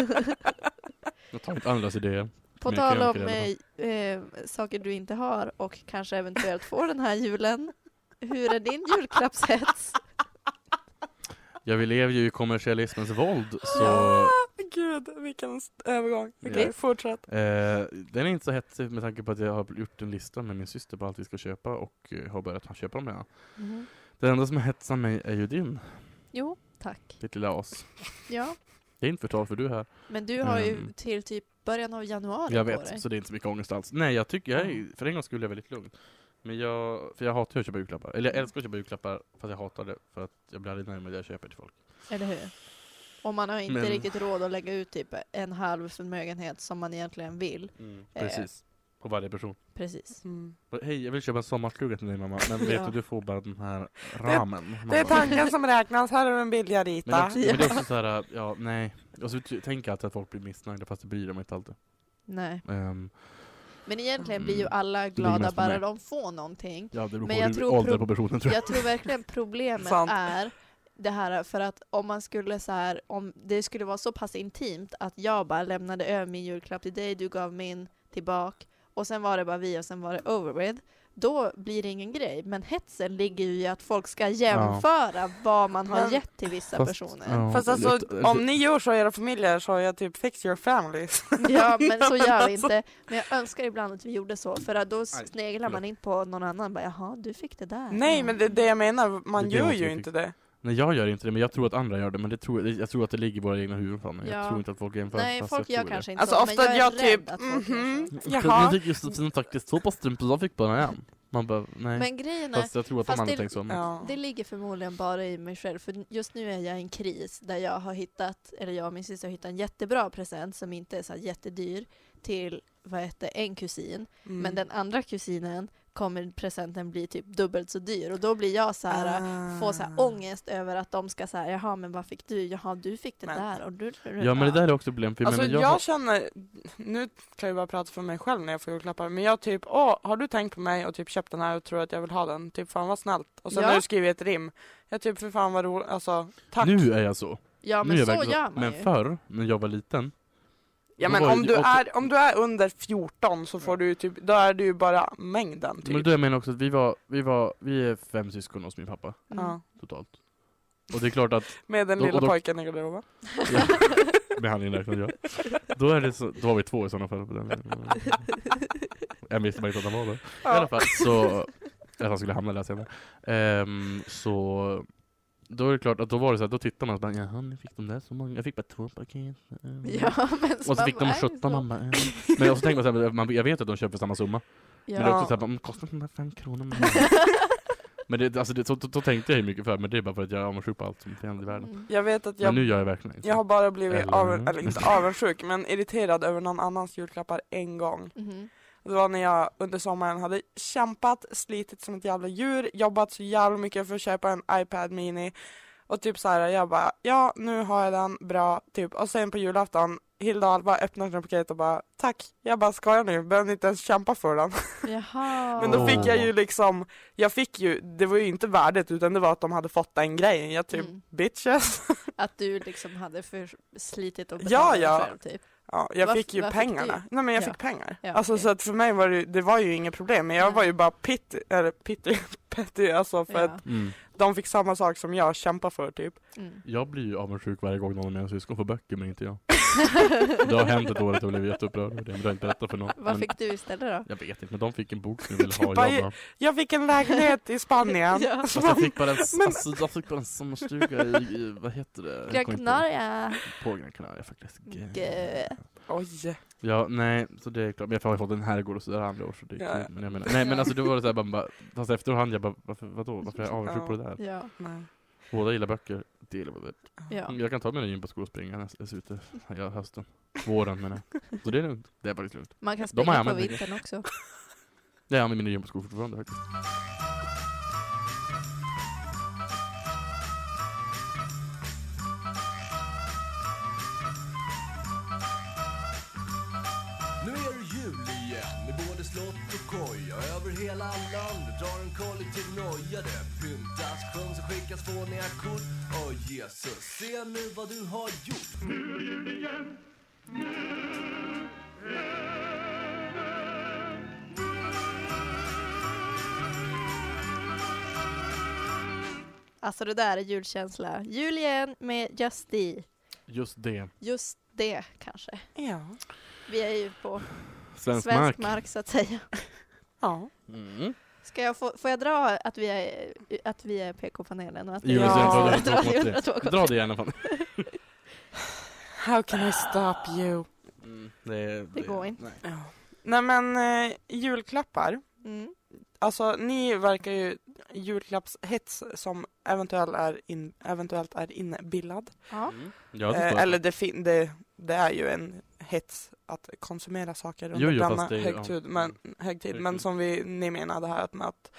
[SPEAKER 3] Jag tar inte andras idéer.
[SPEAKER 4] På
[SPEAKER 3] Men
[SPEAKER 4] tal om
[SPEAKER 3] krönikor i alla
[SPEAKER 4] eh, eh, saker du inte har och kanske eventuellt får den här julen. Hur är din julklappshets?
[SPEAKER 3] Ja, vi lever ju i kommersialismens våld, så
[SPEAKER 2] Ja, Gud, vilken st- övergång. Okej,
[SPEAKER 3] Okej.
[SPEAKER 2] fortsätt.
[SPEAKER 3] eh, den är inte så hetsig med tanke på att jag har gjort en lista med min syster på allt vi ska köpa och eh, har börjat köpa dem redan. Det enda som hetsar mig är ju din,
[SPEAKER 4] Jo, tack.
[SPEAKER 3] ditt lilla as.
[SPEAKER 4] Ja,
[SPEAKER 3] Det är inte förtal för du är här.
[SPEAKER 4] men du har ju
[SPEAKER 3] Mm.
[SPEAKER 4] till typ början av januari
[SPEAKER 3] Jag
[SPEAKER 4] på
[SPEAKER 3] vet,
[SPEAKER 4] dig.
[SPEAKER 3] så det är inte så mycket ångest alls. Nej, jag tycker, jag är, för en gång skulle jag väldigt lugn. Men jag, för jag hatar ju att köpa julklappar. Eller
[SPEAKER 4] Mm.
[SPEAKER 3] jag älskar att köpa julklappar, fast jag hatar det för att jag blir aldrig nöjd med det jag köper till folk.
[SPEAKER 4] Eller hur? Och man har inte
[SPEAKER 3] Men-
[SPEAKER 4] riktigt råd att lägga ut typ en halv förmögenhet som man egentligen vill.
[SPEAKER 3] Mm.
[SPEAKER 4] Eh.
[SPEAKER 3] Precis. På varje person.
[SPEAKER 4] Precis.
[SPEAKER 2] Mm.
[SPEAKER 3] Och, Hej, jag vill köpa en sommarstuga till dig mamma, men vet
[SPEAKER 4] Ja.
[SPEAKER 3] du, du får bara den här ramen.
[SPEAKER 2] Det är
[SPEAKER 3] Mamma.
[SPEAKER 2] tanken som räknas, här är den billiga rita.
[SPEAKER 3] Men, också, men det är
[SPEAKER 4] Ja.
[SPEAKER 3] också så här, ja, nej. Och så ty- tänker jag alltid att folk blir missnöjda fast det bryr de inte alltid.
[SPEAKER 4] Nej.
[SPEAKER 3] Ehm,
[SPEAKER 4] Men egentligen blir ju
[SPEAKER 3] Mm.
[SPEAKER 4] alla
[SPEAKER 3] mest
[SPEAKER 4] glada
[SPEAKER 3] på
[SPEAKER 4] bara
[SPEAKER 3] mig.
[SPEAKER 4] de får någonting.
[SPEAKER 3] ja, det beror
[SPEAKER 4] Men jag
[SPEAKER 3] på hur
[SPEAKER 4] tror
[SPEAKER 3] ålder
[SPEAKER 4] pro-
[SPEAKER 3] på personen tror jag.
[SPEAKER 4] Jag tror verkligen problemet
[SPEAKER 2] Sant.
[SPEAKER 4] är det här för att om man skulle så här, om det skulle vara så pass intimt att jag bara lämnade över min julklapp till dig, du gav min tillbaka och sen var det bara vi och sen var det over with. Då blir det ingen grej, men hetsen ligger ju i att folk ska jämföra vad man har
[SPEAKER 2] Men-
[SPEAKER 4] gett till vissa personer.
[SPEAKER 3] ja,
[SPEAKER 2] Fast alltså,
[SPEAKER 3] det-
[SPEAKER 2] om ni gör så i era familjer så är jag typ fix your families.
[SPEAKER 4] Ja, men så gör
[SPEAKER 2] alltså-
[SPEAKER 4] vi inte. Men jag önskar ibland att vi gjorde så, för att då
[SPEAKER 3] Aj,
[SPEAKER 4] sneglar
[SPEAKER 3] förlåt.
[SPEAKER 4] man in på någon annan. Bara, Jaha, du fick det där.
[SPEAKER 2] Nej, men det är det jag menar, man
[SPEAKER 3] Det typ. är det
[SPEAKER 2] gör
[SPEAKER 3] jag
[SPEAKER 2] ju
[SPEAKER 3] tycker.
[SPEAKER 2] inte det.
[SPEAKER 3] Nej jag gör inte det, men jag tror att andra gör det, men det tror, jag tror att det ligger i våra egna huvuden fan.
[SPEAKER 4] Ja.
[SPEAKER 3] Jag tror inte att folk jämför.
[SPEAKER 4] Nej,
[SPEAKER 3] fast
[SPEAKER 4] folk
[SPEAKER 3] jag
[SPEAKER 4] gör
[SPEAKER 3] tror
[SPEAKER 4] kanske inte
[SPEAKER 2] Alltså
[SPEAKER 4] så,
[SPEAKER 2] ofta jag,
[SPEAKER 4] men jag är
[SPEAKER 2] typ,
[SPEAKER 4] rädd att folk gör så.
[SPEAKER 2] mhm,
[SPEAKER 3] det. Jag
[SPEAKER 2] jaha.
[SPEAKER 3] fick Josefin faktiskt två par strumpor, jag fick bara en. Man bara, nej.
[SPEAKER 4] Men grejen är,
[SPEAKER 3] fast jag tror att
[SPEAKER 4] fast
[SPEAKER 3] de andra
[SPEAKER 4] det-
[SPEAKER 3] tänker så. men-
[SPEAKER 2] Ja.
[SPEAKER 4] det ligger förmodligen bara i mig själv, för just nu är jag i en kris där jag har hittat, eller jag och min syster har hittat en jättebra present som inte är så här jättedyr till, vad heter en kusin.
[SPEAKER 2] Mm.
[SPEAKER 4] Men den andra kusinen kommer presenten bli typ dubbelt så dyr och då blir jag så här
[SPEAKER 2] Ah.
[SPEAKER 4] få så här ångest över att de ska säga jaha men vad fick du? Jaha du fick det
[SPEAKER 2] Men-
[SPEAKER 4] där och du,
[SPEAKER 3] Ja men det där är också problem, för jag
[SPEAKER 2] Alltså
[SPEAKER 3] menar,
[SPEAKER 2] jag,
[SPEAKER 3] jag har-
[SPEAKER 2] känner, nu kan jag bara prata för mig själv när jag får julklappar, men jag typ, åh, har du tänkt på mig och typ köpt den här och tror att jag vill ha den? Typ fan vad snällt. Och sen
[SPEAKER 4] Ja.
[SPEAKER 2] har du skrivit ett rim. Jag typ, för fan vad roligt, alltså tack.
[SPEAKER 3] Nu är jag så.
[SPEAKER 4] Ja
[SPEAKER 3] nu är
[SPEAKER 4] men
[SPEAKER 3] jag
[SPEAKER 4] så
[SPEAKER 3] verkligen
[SPEAKER 4] gör man
[SPEAKER 3] Men
[SPEAKER 4] ju.
[SPEAKER 3] förr, när jag var liten,
[SPEAKER 2] ja
[SPEAKER 3] då
[SPEAKER 2] men
[SPEAKER 3] var ju-
[SPEAKER 2] om du,
[SPEAKER 3] och-
[SPEAKER 2] är, om du är under 14 så får du typ, då är du ju bara mängden typ.
[SPEAKER 3] men då jag menar också att vi var, vi var, vi är fem syskon hos min pappa,
[SPEAKER 4] Mm.
[SPEAKER 2] ja.
[SPEAKER 3] totalt. Och det är klart att,
[SPEAKER 2] Med den
[SPEAKER 3] Då- och
[SPEAKER 2] lilla
[SPEAKER 3] då-
[SPEAKER 2] pojken i garderoben.
[SPEAKER 3] ja, med handlingen räknad jag. Då är det så, då var vi två i sådana fall på den tiden. Jag visste bara inte att han var det. I alla fall så, att han skulle hamna där senare. Ehm, så, då är det klart att då var det så här, då tittar man och så bara jaha, nu fick de där så många, jag fick bara två paket. ehm."
[SPEAKER 4] Ja, men
[SPEAKER 3] Och så
[SPEAKER 4] man
[SPEAKER 3] fick
[SPEAKER 4] bara,
[SPEAKER 3] de
[SPEAKER 4] är det
[SPEAKER 3] 17
[SPEAKER 4] så?
[SPEAKER 3] man bara, ehm. Men och så tänkte man så här, man, jag vet att de köper samma summa. Men det är
[SPEAKER 4] Ja.
[SPEAKER 3] också såhär, bara, "Mm, kostar de där fem kronor? Men, men det, alltså det, så, så, så tänkte jag ju mycket för men det är bara för att jag är avundsjuk på allt som händer i världen.
[SPEAKER 4] Mm.
[SPEAKER 2] Jag vet att
[SPEAKER 3] Men
[SPEAKER 2] jag
[SPEAKER 3] nu gör jag verkligen inte
[SPEAKER 2] Jag har bara blivit
[SPEAKER 3] Eller-
[SPEAKER 2] av, eller inte avundsjuk, men irriterad över någon annans julklappar en gång.
[SPEAKER 4] Mhm.
[SPEAKER 2] Det var när jag under sommaren hade kämpat, slitit som ett jävla djur, jobbat så jävla mycket för att köpa en iPad Mini. Och typ så här, jag bara, ja nu har jag den, bra, typ. Och sen på julafton, Hilda och Alba öppnar sina paket och bara, tack. Jag bara, ska jag nu? Behöver ni inte ens kämpa för den?
[SPEAKER 4] Jaha.
[SPEAKER 2] Men då fick jag
[SPEAKER 3] Åh.
[SPEAKER 2] ju liksom, jag fick ju, det var ju inte värdet utan det var att de hade fått den grejen. Jag typ,
[SPEAKER 4] Mm.
[SPEAKER 2] bitches.
[SPEAKER 4] Att du liksom hade för slitit och
[SPEAKER 2] Ja,
[SPEAKER 4] betalat
[SPEAKER 2] ja.
[SPEAKER 4] själv typ.
[SPEAKER 2] Ja, jag
[SPEAKER 4] Vad-
[SPEAKER 2] fick ju
[SPEAKER 4] vad fick
[SPEAKER 2] pengarna. Nej men jag
[SPEAKER 4] Ja.
[SPEAKER 2] fick pengar.
[SPEAKER 4] Ja,
[SPEAKER 2] alltså
[SPEAKER 4] okej.
[SPEAKER 2] så att för mig var det, ju- det var ju inget problem. Men jag
[SPEAKER 4] Nej.
[SPEAKER 2] var ju bara pitty, eller pitty, petty alltså för
[SPEAKER 4] Ja.
[SPEAKER 2] att de fick samma sak som jag kämpar för typ.
[SPEAKER 4] Mm.
[SPEAKER 3] Mm. Jag blir ju avundsjuk varje gång någon av mina syskon får böcker men inte jag. Det har hänt ett år att jag blev jätteupprörd över det, men det har jag inte berättat för någon.
[SPEAKER 4] Vad
[SPEAKER 3] Men
[SPEAKER 4] fick du istället då?
[SPEAKER 3] Jag vet inte, men de fick en bok som jag ville
[SPEAKER 2] Du
[SPEAKER 3] ha.
[SPEAKER 2] bara-
[SPEAKER 3] Jag bara,
[SPEAKER 2] Jag fick en lägenhet i Spanien.
[SPEAKER 4] Ja.
[SPEAKER 3] Fast
[SPEAKER 2] Alltså-
[SPEAKER 3] jag fick bara en, alltså, jag fick bara en sommarstuga i, i- vad heter det? Jag
[SPEAKER 4] Gran
[SPEAKER 3] kommer inte
[SPEAKER 4] Canaria.
[SPEAKER 3] ihåg. På Gran Canaria faktiskt.
[SPEAKER 4] Gö.
[SPEAKER 2] Oj.
[SPEAKER 3] Ja, nej, så det är klart. Men jag har ju fått en herrgård och sådär andra år, så det är
[SPEAKER 2] Ja,
[SPEAKER 3] kul.
[SPEAKER 2] ja.
[SPEAKER 3] Men jag menar, nej men alltså då var det såhär, man bara, fast efterhand jag bara, varför, vadå, varför är jag avundsjuk på det där?
[SPEAKER 4] Ja.
[SPEAKER 2] Nej.
[SPEAKER 3] Båda gillar böcker, det gillar båda.
[SPEAKER 2] Mm.
[SPEAKER 4] ja.
[SPEAKER 3] Jag kan ta mina gympaskor och springa nästa, eh, ute, ja, hösten. Våren menar jag. Så det är lugnt. Det är faktiskt lugnt.
[SPEAKER 4] Man kan
[SPEAKER 3] har
[SPEAKER 4] springa på
[SPEAKER 3] använt mycket.
[SPEAKER 4] vintern också.
[SPEAKER 3] Jag använder mina gympaskor fortfarande faktiskt.
[SPEAKER 6] Nu är det jul igen med både slott och koja Över hela landet drar en kollektiv noja Det pyntas, sjungs och skickas fåniga kort Åh Jesus, se nu vad du har gjort
[SPEAKER 4] Alltså det där är julkänsla. Jul igen med Just det.
[SPEAKER 3] Just det.
[SPEAKER 4] Just det kanske.
[SPEAKER 2] Ja.
[SPEAKER 4] Vi är ju på
[SPEAKER 3] Svensk, mark.
[SPEAKER 4] svensk mark, så att säga.
[SPEAKER 2] Ja.
[SPEAKER 3] Mm.
[SPEAKER 4] Ska jag få, får jag dra att vi är, att vi är PK-panelen och att vi
[SPEAKER 3] Jo,
[SPEAKER 4] är
[SPEAKER 2] Ja.
[SPEAKER 3] ja.
[SPEAKER 4] Dra det, dra det.
[SPEAKER 3] Dra det gärna fan.
[SPEAKER 2] How can I stop you?
[SPEAKER 3] det,
[SPEAKER 4] Det går inte.
[SPEAKER 3] Nej.
[SPEAKER 2] Ja. Nej men eh, julklappar.
[SPEAKER 4] Mm.
[SPEAKER 2] Alltså ni verkar ju julklappshets som eventuellt är, in, eventuellt är inbillad.
[SPEAKER 4] Ja.
[SPEAKER 3] Mm. Jag förstår.
[SPEAKER 2] Eh, eller det, fin- det, det är ju en hets att konsumera saker under
[SPEAKER 3] Jo, jo,
[SPEAKER 2] denna
[SPEAKER 3] fast det är-
[SPEAKER 2] högtid,
[SPEAKER 3] ja.
[SPEAKER 2] men, högtid. Men
[SPEAKER 3] Högtid.
[SPEAKER 2] som vi, ni menade här att, med att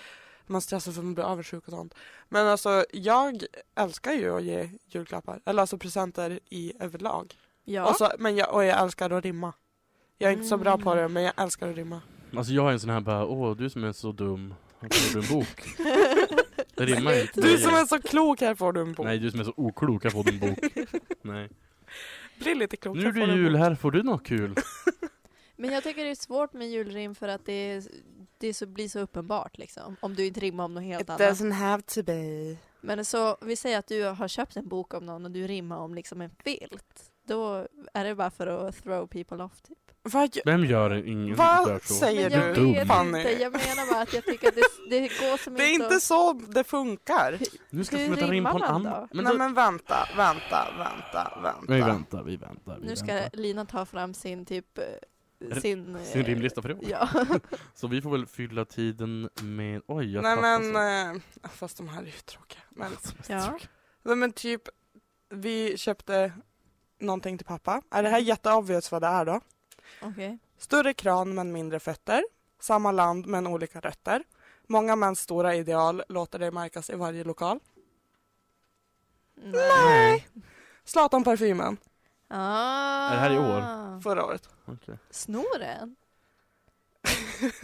[SPEAKER 2] man stressar för att man blir avundsjuk och sånt. Men alltså jag älskar ju att ge julklappar, eller alltså presenter i överlag.
[SPEAKER 4] ja.
[SPEAKER 2] Och, så, men jag, och jag älskar att rimma. Jag är inte så bra på det men jag älskar att rimma.
[SPEAKER 3] Alltså jag är en sån här bara, åh du som är så dum, här får du en bok. Det rimmar inte.
[SPEAKER 2] Du som är så klok, här får du en bok.
[SPEAKER 3] Nej, du som är så oklok, här får du en bok. Nej.
[SPEAKER 2] Bli lite klok,
[SPEAKER 3] Nu
[SPEAKER 2] här
[SPEAKER 3] är
[SPEAKER 2] får du
[SPEAKER 3] det
[SPEAKER 2] en
[SPEAKER 3] jul,
[SPEAKER 2] bok.
[SPEAKER 3] här får du något kul.
[SPEAKER 4] Men jag tycker det är svårt med julrim för att det, är, det är så, blir så uppenbart liksom. Om du inte rimmar om något helt annat.
[SPEAKER 2] have to be.
[SPEAKER 4] Men så, vi säger att du har köpt en bok om någon och du rimmar om liksom en filt. Då är det bara för att throw people off typ.
[SPEAKER 2] Vad, gö-
[SPEAKER 3] Vem gör det? ingen som gör
[SPEAKER 2] vad
[SPEAKER 3] så?
[SPEAKER 2] säger
[SPEAKER 4] Men jag
[SPEAKER 2] du?
[SPEAKER 3] Dum.
[SPEAKER 4] vet
[SPEAKER 2] Fanny?
[SPEAKER 4] inte, jag menar bara att jag tycker att det, det går som
[SPEAKER 2] Det är
[SPEAKER 4] inte
[SPEAKER 2] inte
[SPEAKER 4] att-
[SPEAKER 2] så det funkar.
[SPEAKER 3] Nu ska
[SPEAKER 4] Hur
[SPEAKER 3] vi ta rim på en
[SPEAKER 4] rimmar man
[SPEAKER 3] annan.
[SPEAKER 4] då?
[SPEAKER 3] Men
[SPEAKER 2] Nej
[SPEAKER 3] då-
[SPEAKER 2] men vänta, vänta, vänta,
[SPEAKER 3] Vi
[SPEAKER 2] vänta.
[SPEAKER 3] väntar, vi väntar. Vi
[SPEAKER 4] Nu ska
[SPEAKER 3] väntar.
[SPEAKER 4] Lina ta fram sin typ, eh,
[SPEAKER 3] R-
[SPEAKER 4] sin... eh,
[SPEAKER 3] Sin rimlista för i år.
[SPEAKER 4] Ja.
[SPEAKER 3] Så vi får väl fylla tiden med... Oj, jag
[SPEAKER 2] Nej
[SPEAKER 3] tappade
[SPEAKER 2] men,
[SPEAKER 3] så.
[SPEAKER 2] eh, fast de här är ju tråkiga. Men,
[SPEAKER 4] ja.
[SPEAKER 2] nej, men typ, vi köpte någonting till pappa. Är det här jätteobvious vad det är då?
[SPEAKER 4] Okej.
[SPEAKER 2] Större kran men mindre fötter. Samma land men olika rötter. Många mäns stora ideal låter dig märkas i varje lokal.
[SPEAKER 4] Nej.
[SPEAKER 2] Zlatan-parfymen,
[SPEAKER 4] Ah.
[SPEAKER 3] Är det här i
[SPEAKER 2] förra året.
[SPEAKER 4] Snor den?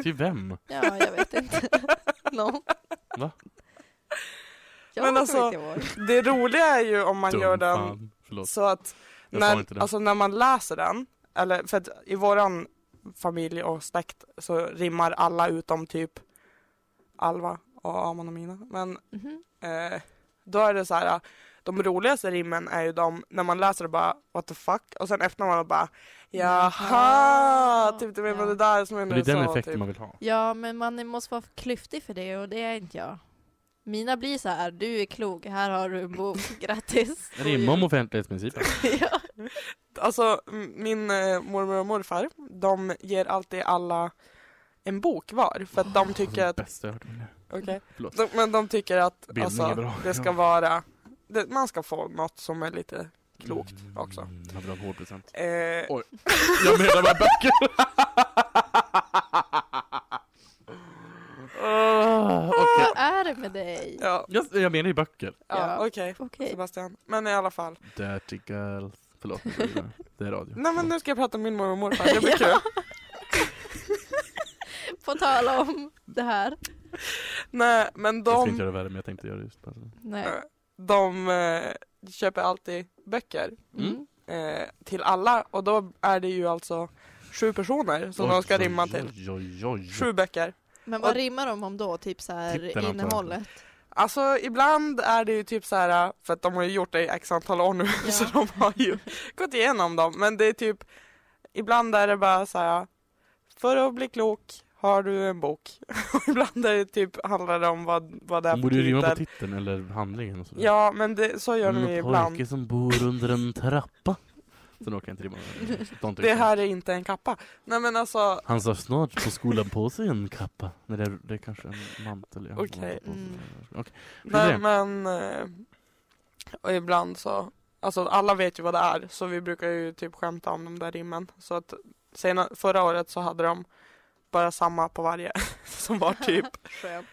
[SPEAKER 3] Till vem?
[SPEAKER 4] Ja, jag vet inte. Någon.
[SPEAKER 3] Va?
[SPEAKER 4] Jag
[SPEAKER 2] Men
[SPEAKER 4] kommer
[SPEAKER 2] alltså-
[SPEAKER 4] inte ihåg.
[SPEAKER 2] Det roliga är ju om man
[SPEAKER 3] Dum
[SPEAKER 2] gör den
[SPEAKER 3] fan. Förlåt.
[SPEAKER 2] Så att
[SPEAKER 3] Jag sa
[SPEAKER 2] när,
[SPEAKER 3] inte det.
[SPEAKER 2] alltså när man läser den, eller för att i våran familj och släkt så rimmar alla utom typ Alva och Amon och Mina. Men
[SPEAKER 4] Mhm.
[SPEAKER 2] eh, då är det så här, de roligaste rimmen är ju de när man läser och bara what the fuck och sen öppnar man och bara jaha,
[SPEAKER 4] Jaha.
[SPEAKER 2] typ det var
[SPEAKER 4] Ja.
[SPEAKER 2] det där som
[SPEAKER 3] Men det är den
[SPEAKER 2] så,
[SPEAKER 3] effekten
[SPEAKER 2] typ.
[SPEAKER 3] man vill ha.
[SPEAKER 4] Ja, men man måste vara klyftig för det och det är inte jag. Mina blir så här, du är klok, här har du en bok, grattis.
[SPEAKER 3] Rimma om offentlighetsprincipen.
[SPEAKER 4] ja.
[SPEAKER 2] Alltså m- min eh, mormor och morfar, de ger alltid alla en bok var för att de tycker
[SPEAKER 3] Alltså, Det
[SPEAKER 2] att
[SPEAKER 3] bästa jag hört om det.
[SPEAKER 2] Okej.
[SPEAKER 3] Förlåt.
[SPEAKER 2] De, men de tycker att
[SPEAKER 3] Bildning är
[SPEAKER 2] alltså,
[SPEAKER 3] bra.
[SPEAKER 2] det ska
[SPEAKER 3] Ja.
[SPEAKER 2] vara, det, man ska få något som är lite klokt också.
[SPEAKER 3] Mm, jag vill ha en hård present.
[SPEAKER 2] Eh,
[SPEAKER 3] Oj. Jag menar med böcker!
[SPEAKER 2] åh,
[SPEAKER 4] Vad är det med för dig.
[SPEAKER 2] Ja,
[SPEAKER 3] Ah, Jag, jag menar i böcker.
[SPEAKER 2] ja
[SPEAKER 4] Ja.
[SPEAKER 2] okej
[SPEAKER 4] Okej.
[SPEAKER 2] Sebastian. Men i alla fall.
[SPEAKER 3] Dirty girls. Förlåt, jag driver. det är radio.
[SPEAKER 2] Nej men nu ska jag prata om min mormor och morfar, det blir
[SPEAKER 4] Ja.
[SPEAKER 2] kul.
[SPEAKER 4] På tal om det här.
[SPEAKER 2] Nej men
[SPEAKER 3] Jag ska inte
[SPEAKER 2] de,
[SPEAKER 3] göra det värre, men jag tänkte göra det just bara så.
[SPEAKER 4] Nej.
[SPEAKER 2] de eh, köper alltid böcker
[SPEAKER 3] Mm.
[SPEAKER 2] eh, till alla och då är det ju alltså sju personer som de ska
[SPEAKER 3] Oj,
[SPEAKER 2] rimma
[SPEAKER 3] oj,
[SPEAKER 2] till.
[SPEAKER 3] Oj, oj, oj.
[SPEAKER 2] Sju böcker.
[SPEAKER 4] Men
[SPEAKER 2] Och-
[SPEAKER 4] vad rimmar de om då? Typ så
[SPEAKER 3] Titeln, antar
[SPEAKER 4] här
[SPEAKER 3] jag.
[SPEAKER 4] innehållet?
[SPEAKER 2] Alltså ibland är det ju typ så här för att de har ju gjort det i x antal år nu
[SPEAKER 4] Ja.
[SPEAKER 2] så de har ju gått igenom dem men det är typ ibland är det bara så här för att bli klok har du en bok och ibland är det typ handlar det om vad, vad det är
[SPEAKER 3] Hon
[SPEAKER 2] för
[SPEAKER 3] borde ju rimma på
[SPEAKER 2] titel.
[SPEAKER 3] titeln eller handlingen och sådär. Mm,
[SPEAKER 2] Ja men det, så gör de ju
[SPEAKER 3] En
[SPEAKER 2] ibland.
[SPEAKER 3] pojke som bor under en trappa. Sen orkar jag inte rimma. Sånt
[SPEAKER 2] Det
[SPEAKER 3] också.
[SPEAKER 2] här är inte en kappa. Nej men alltså
[SPEAKER 3] Han sa snart på skolan på sig en kappa. Nej, det är, det är kanske en mantel. ja.
[SPEAKER 2] Okej.
[SPEAKER 4] Mm.
[SPEAKER 3] Okej.
[SPEAKER 2] Nej,
[SPEAKER 3] det.
[SPEAKER 2] men eh, och ibland så, alltså alla vet ju vad det är så vi brukar ju typ skämta om de där rimmen. Så att sena, förra året så hade de bara samma på varje som var typ
[SPEAKER 4] Skönt.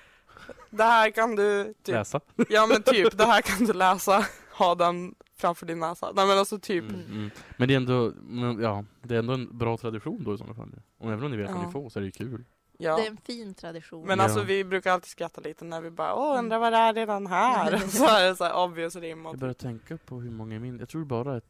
[SPEAKER 2] det här kan du, typ,
[SPEAKER 3] Läsa.
[SPEAKER 2] ja men typ det här kan du läsa, ha den framför din näsa. Nej men alltså typ,
[SPEAKER 3] Mm, mm. Men det är ändå, men, ja, det är ändå en bra tradition då i sådana fall. Och även om ni vet vad
[SPEAKER 2] Ja.
[SPEAKER 3] ni får så är det ju kul.
[SPEAKER 2] ja.
[SPEAKER 4] Det är en fin tradition.
[SPEAKER 2] Men
[SPEAKER 3] Ja.
[SPEAKER 2] alltså vi brukar alltid skratta lite när vi bara åh undrar vad det är redan här. Så är det så här obvious rim och typ,
[SPEAKER 3] Jag börjar tänka på hur många min, jag tror bara är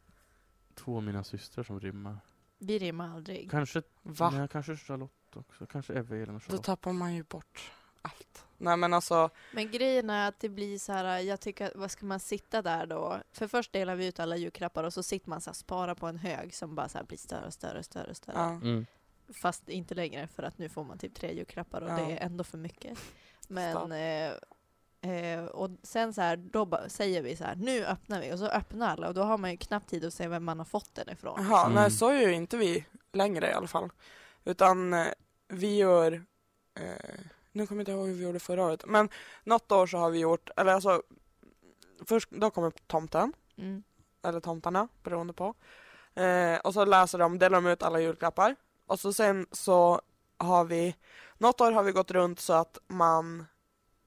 [SPEAKER 3] två av mina systrar som rimmar.
[SPEAKER 4] Vi rimmar aldrig.
[SPEAKER 3] Kanske,
[SPEAKER 2] va?
[SPEAKER 3] nej, kanske Charlotte också. Kanske Evelyn och
[SPEAKER 2] Då
[SPEAKER 3] Charlotte.
[SPEAKER 2] tappar man ju bort allt. Nej men alltså,
[SPEAKER 4] Men grejen är att det blir så här, jag tycker, att- vad ska man sitta där då? För först delar vi ut alla julklappar och så sitter man så här, spara på en hög som bara så här blir större och större och större. och större.
[SPEAKER 2] ja.
[SPEAKER 3] Mm.
[SPEAKER 4] Fast inte längre för att nu får man typ tre julklappar och
[SPEAKER 2] Ja.
[SPEAKER 4] det är ändå för mycket.
[SPEAKER 2] Stopp.
[SPEAKER 4] Men eh, eh, och sen så här, då ba- säger vi så här, nu öppnar vi och så öppnar alla och då har man ju knappt tid att se vem man har fått den ifrån.
[SPEAKER 2] Jaha,
[SPEAKER 3] Mm.
[SPEAKER 2] nej så gör ju inte vi längre i alla fall. Utan eh, vi gör, eh, nu kommer jag inte ihåg hur vi gjorde förra året, men något år så har vi gjort, eller alltså, först då kommer tomten,
[SPEAKER 4] Mm.
[SPEAKER 2] eller tomtarna beroende på. Eh, och så läser de, delar de ut alla julklappar. Och så sen så har vi, något år har vi gått runt så att man,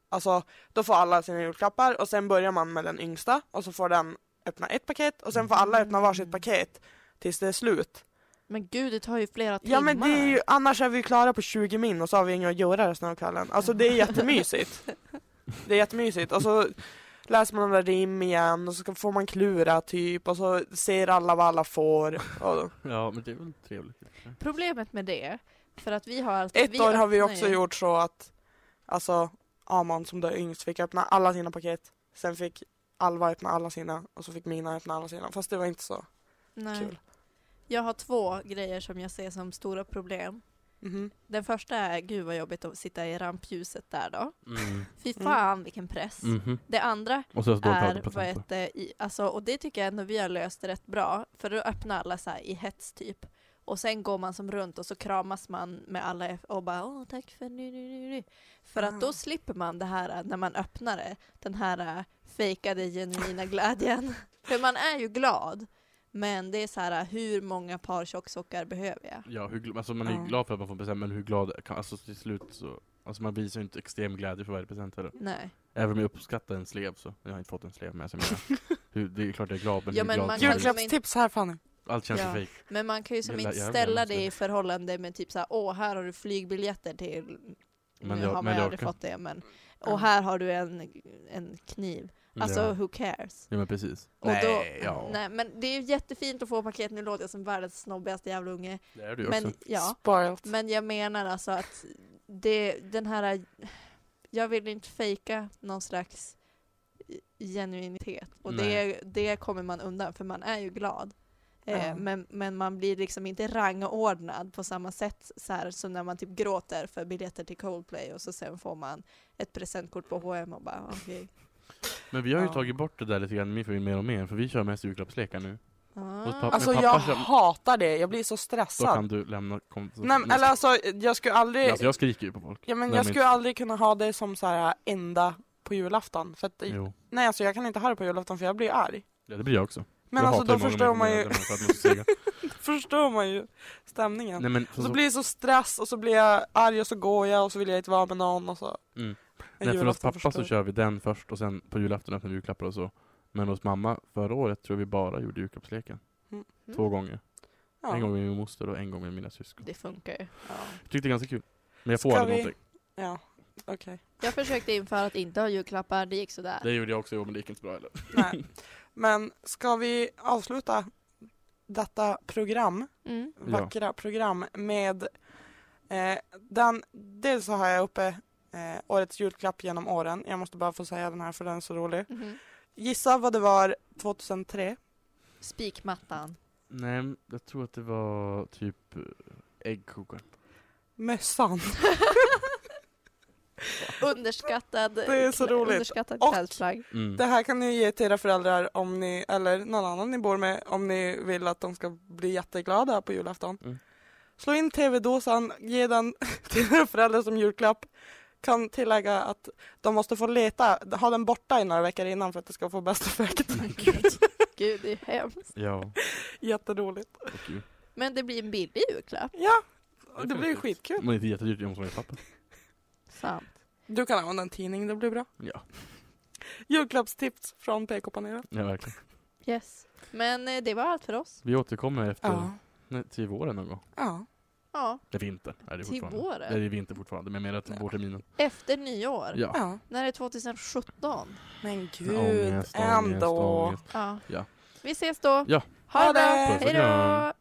[SPEAKER 2] alltså då får alla sina julklappar och sen börjar man med den yngsta och så får den öppna ett paket och sen får alla öppna varsitt
[SPEAKER 4] Mm.
[SPEAKER 2] paket tills det är slut.
[SPEAKER 4] Men gud, det tar ju flera timmar.
[SPEAKER 2] Ja men det är ju, annars är vi ju klara på 20 min och så har vi inget att göra resten av kvällen. Alltså det är jättemysigt. Det är jättemysigt. Och så läser man några rim igen och så ska- får man klura typ och så ser alla vad alla får. Och
[SPEAKER 3] Ja, men det är väl trevligt.
[SPEAKER 4] Problemet med det, för att vi har alltid...
[SPEAKER 2] ett år har vi
[SPEAKER 4] öppnar
[SPEAKER 2] också
[SPEAKER 4] ju-
[SPEAKER 2] gjort så att alltså Amon som då är yngst fick öppna alla sina paket. Sen fick Alva öppna alla sina och så fick Mina öppna alla sina. Fast det var inte så
[SPEAKER 4] Nej.
[SPEAKER 2] kul.
[SPEAKER 4] Jag har två grejer som jag ser som stora problem.
[SPEAKER 2] Mhm.
[SPEAKER 4] Den första är, gud vad jobbigt att sitta i rampljuset där då.
[SPEAKER 3] Mm. Mhm.
[SPEAKER 4] Fy
[SPEAKER 2] Mm.
[SPEAKER 4] fan vilken press. Det andra
[SPEAKER 3] Och så står
[SPEAKER 4] är,
[SPEAKER 3] det på
[SPEAKER 4] vad
[SPEAKER 3] tanten.
[SPEAKER 4] heter, i, alltså, och det tycker jag ändå vi har löst rätt bra, för då öppnar alla så här i hets typ. Och sen går man som runt och så kramas man med alla eff- och bara åh tack för nu, nu, nu, nu. För att
[SPEAKER 2] Ah.
[SPEAKER 4] då slipper man det här äh, när man öppnar det, den här äh, fejkade genuina glädjen. för man är ju glad, men det är så här äh, hur många par tjocksockar behöver jag?
[SPEAKER 3] Ja, hur, gl- alltså man är
[SPEAKER 2] Ja.
[SPEAKER 3] ju glad för att man får present, men hur glad, kan, alltså till slut så, alltså man visar ju inte extrem glädje för varje present heller.
[SPEAKER 4] Nej.
[SPEAKER 3] Även om jag uppskattar en slev så, jag har inte fått en slev med sig menar, hur, det är klart jag är glad men
[SPEAKER 4] Ja,
[SPEAKER 3] hur
[SPEAKER 4] men
[SPEAKER 3] glad
[SPEAKER 4] man
[SPEAKER 3] som
[SPEAKER 4] kan- liksom
[SPEAKER 3] helst.
[SPEAKER 2] Julklappstips här Fanny.
[SPEAKER 3] allt känns
[SPEAKER 4] Ja.
[SPEAKER 3] ju fejk.
[SPEAKER 4] Men man kan ju som
[SPEAKER 3] Jävla-
[SPEAKER 4] inte
[SPEAKER 3] jävla
[SPEAKER 4] ställa
[SPEAKER 3] hemskt.
[SPEAKER 4] det i förhållande med typ så här, åh här har du flygbiljetter till,
[SPEAKER 3] Men
[SPEAKER 4] nu
[SPEAKER 3] jag-
[SPEAKER 4] har
[SPEAKER 3] men
[SPEAKER 4] man ju
[SPEAKER 3] jag
[SPEAKER 4] aldrig
[SPEAKER 3] orkar.
[SPEAKER 4] fått det men,
[SPEAKER 2] Ja.
[SPEAKER 4] och här har du en, en kniv. Alltså
[SPEAKER 3] ja.
[SPEAKER 4] who cares?
[SPEAKER 3] ja men precis.
[SPEAKER 4] Och
[SPEAKER 3] nej,
[SPEAKER 4] då,
[SPEAKER 3] ja.
[SPEAKER 4] nej, men det är ju jättefint att få paket, nu låter jag som världens snobbigaste jävla unge.
[SPEAKER 3] Det är du också.
[SPEAKER 4] Men, ja,
[SPEAKER 2] Spoiled.
[SPEAKER 4] men jag menar alltså att det, den här, jag vill inte fejka någon slags genuinitet. Och det,
[SPEAKER 3] Nej.
[SPEAKER 4] det kommer man undan för man är ju glad. Eh,
[SPEAKER 2] Ja.
[SPEAKER 4] men, men man blir liksom inte rangordnad på samma sätt så här, som när man typ gråter för biljetter till Coldplay och så sen får man ett presentkort på H&M och bara okej.
[SPEAKER 3] Men vi har ju
[SPEAKER 2] Ja.
[SPEAKER 3] tagit bort det där lite grann i min familj mer och mer, för vi kör mest julklappslekar nu.
[SPEAKER 4] Ah.
[SPEAKER 3] pappa-
[SPEAKER 2] Alltså
[SPEAKER 3] Men
[SPEAKER 2] jag
[SPEAKER 3] köp-
[SPEAKER 2] hatar det, jag blir så
[SPEAKER 3] Då
[SPEAKER 2] stressad.
[SPEAKER 3] kan du lämna kom, så-
[SPEAKER 2] Nej men eller alltså jag skulle aldrig,
[SPEAKER 3] alltså, jag skriker ju på folk.
[SPEAKER 2] ja, men
[SPEAKER 3] Nej,
[SPEAKER 2] jag
[SPEAKER 3] men-
[SPEAKER 2] skulle aldrig kunna ha det som så här enda på julafton. För att,
[SPEAKER 3] Jo.
[SPEAKER 2] nej alltså jag kan inte ha det på julafton för jag blir arg.
[SPEAKER 3] Ja, det blir jag också.
[SPEAKER 2] Men
[SPEAKER 3] jag
[SPEAKER 2] alltså då
[SPEAKER 3] hatar ju många
[SPEAKER 2] förstår
[SPEAKER 3] mer-
[SPEAKER 2] man
[SPEAKER 3] mer
[SPEAKER 2] ju,
[SPEAKER 3] än för att man ska säga.
[SPEAKER 2] förstår man ju stämningen.
[SPEAKER 3] Nej men,
[SPEAKER 2] Och
[SPEAKER 3] så,
[SPEAKER 2] så blir det så stress och så blir jag arg och så går jag och så vill jag inte vara med någon och så.
[SPEAKER 3] Mm. Nej, för hos
[SPEAKER 2] julafton
[SPEAKER 3] pappa så
[SPEAKER 2] förstår.
[SPEAKER 3] kör vi den först och sen på julafton öppnar vi julklappar och så. Men hos mamma förra året tror jag vi bara gjorde julklappsleken.
[SPEAKER 2] Mm.
[SPEAKER 3] Två gånger.
[SPEAKER 2] Ja.
[SPEAKER 3] En gång med min moster och en gång med mina syskon.
[SPEAKER 4] Det funkar ju.
[SPEAKER 2] Ja,
[SPEAKER 3] Jag tyckte det var ganska kul. Men jag får
[SPEAKER 2] Ska
[SPEAKER 3] aldrig
[SPEAKER 2] vi-
[SPEAKER 3] någonting.
[SPEAKER 2] ja. okej.
[SPEAKER 4] Jag försökte införa att inte ha julklappar, det gick sådär.
[SPEAKER 3] Det gjorde jag också i år men det gick inte så bra heller.
[SPEAKER 2] Nej. Men ska vi avsluta detta program,
[SPEAKER 4] Mm.
[SPEAKER 3] Ja.
[SPEAKER 2] vackra program, med eh, den, dels så har jag uppe eh, årets julklapp genom åren. Jag måste bara få säga den här för den är så rolig.
[SPEAKER 4] Mhm.
[SPEAKER 2] Gissa vad det var 2003?
[SPEAKER 4] Spikmattan.
[SPEAKER 3] Nej, men jag tror att det var typ eh, äggkokaren.
[SPEAKER 2] Mössan.
[SPEAKER 3] Mm.
[SPEAKER 4] Underskattad,
[SPEAKER 2] Det är så
[SPEAKER 4] klä-
[SPEAKER 2] roligt.
[SPEAKER 4] underskattad
[SPEAKER 2] Och-
[SPEAKER 4] klädesplagg.
[SPEAKER 3] Mm.
[SPEAKER 2] Det här kan ni ge till era föräldrar om ni, eller någon annan ni bor med om ni vill att de ska bli jätteglada på julafton.
[SPEAKER 3] Mm.
[SPEAKER 2] Slå in tv-dosan, ge den till era föräldrar som julklapp. Kan tillägga att de måste få leta, ha den borta i några veckor innan för att det ska få bäst effekt.
[SPEAKER 4] Gud, det är hemskt.
[SPEAKER 3] Ja,
[SPEAKER 2] Jätteroligt.
[SPEAKER 3] och kul.
[SPEAKER 4] Men det blir en billig julklapp.
[SPEAKER 2] Ja,
[SPEAKER 3] Det är
[SPEAKER 2] det blir
[SPEAKER 3] perfekt.
[SPEAKER 2] skitkul.
[SPEAKER 3] Men inte jättedyrt, jag måste vara i pappa.
[SPEAKER 4] Sant.
[SPEAKER 2] Du kan använda en tidning, det blir bra.
[SPEAKER 3] Ja,
[SPEAKER 2] Julklappstips från PK-panelen.
[SPEAKER 3] ja verkligen.
[SPEAKER 4] Yes. Men eh, det var allt för oss.
[SPEAKER 3] Vi återkommer efter,
[SPEAKER 2] Ja.
[SPEAKER 3] nej, till våren någon gång.
[SPEAKER 2] ja.
[SPEAKER 4] Ja,
[SPEAKER 3] Det är vinter. Nej, det är
[SPEAKER 4] till
[SPEAKER 3] fortfarande.
[SPEAKER 4] våren.
[SPEAKER 3] Nej, det är vinter fortfarande, men jag menar till
[SPEAKER 2] Ja.
[SPEAKER 3] vårterminen.
[SPEAKER 4] Efter nyår?
[SPEAKER 3] Ja.
[SPEAKER 2] Ja.
[SPEAKER 4] När är 2017?
[SPEAKER 2] Men gud,
[SPEAKER 3] Ångest, ångest,
[SPEAKER 2] ändå.
[SPEAKER 3] ångest.
[SPEAKER 4] Ja.
[SPEAKER 3] Ja.
[SPEAKER 4] Vi ses då.
[SPEAKER 3] Ja.
[SPEAKER 4] Ha,
[SPEAKER 2] Ha
[SPEAKER 4] det bra.
[SPEAKER 2] det!
[SPEAKER 4] Hej
[SPEAKER 3] Puss och kram.
[SPEAKER 4] då.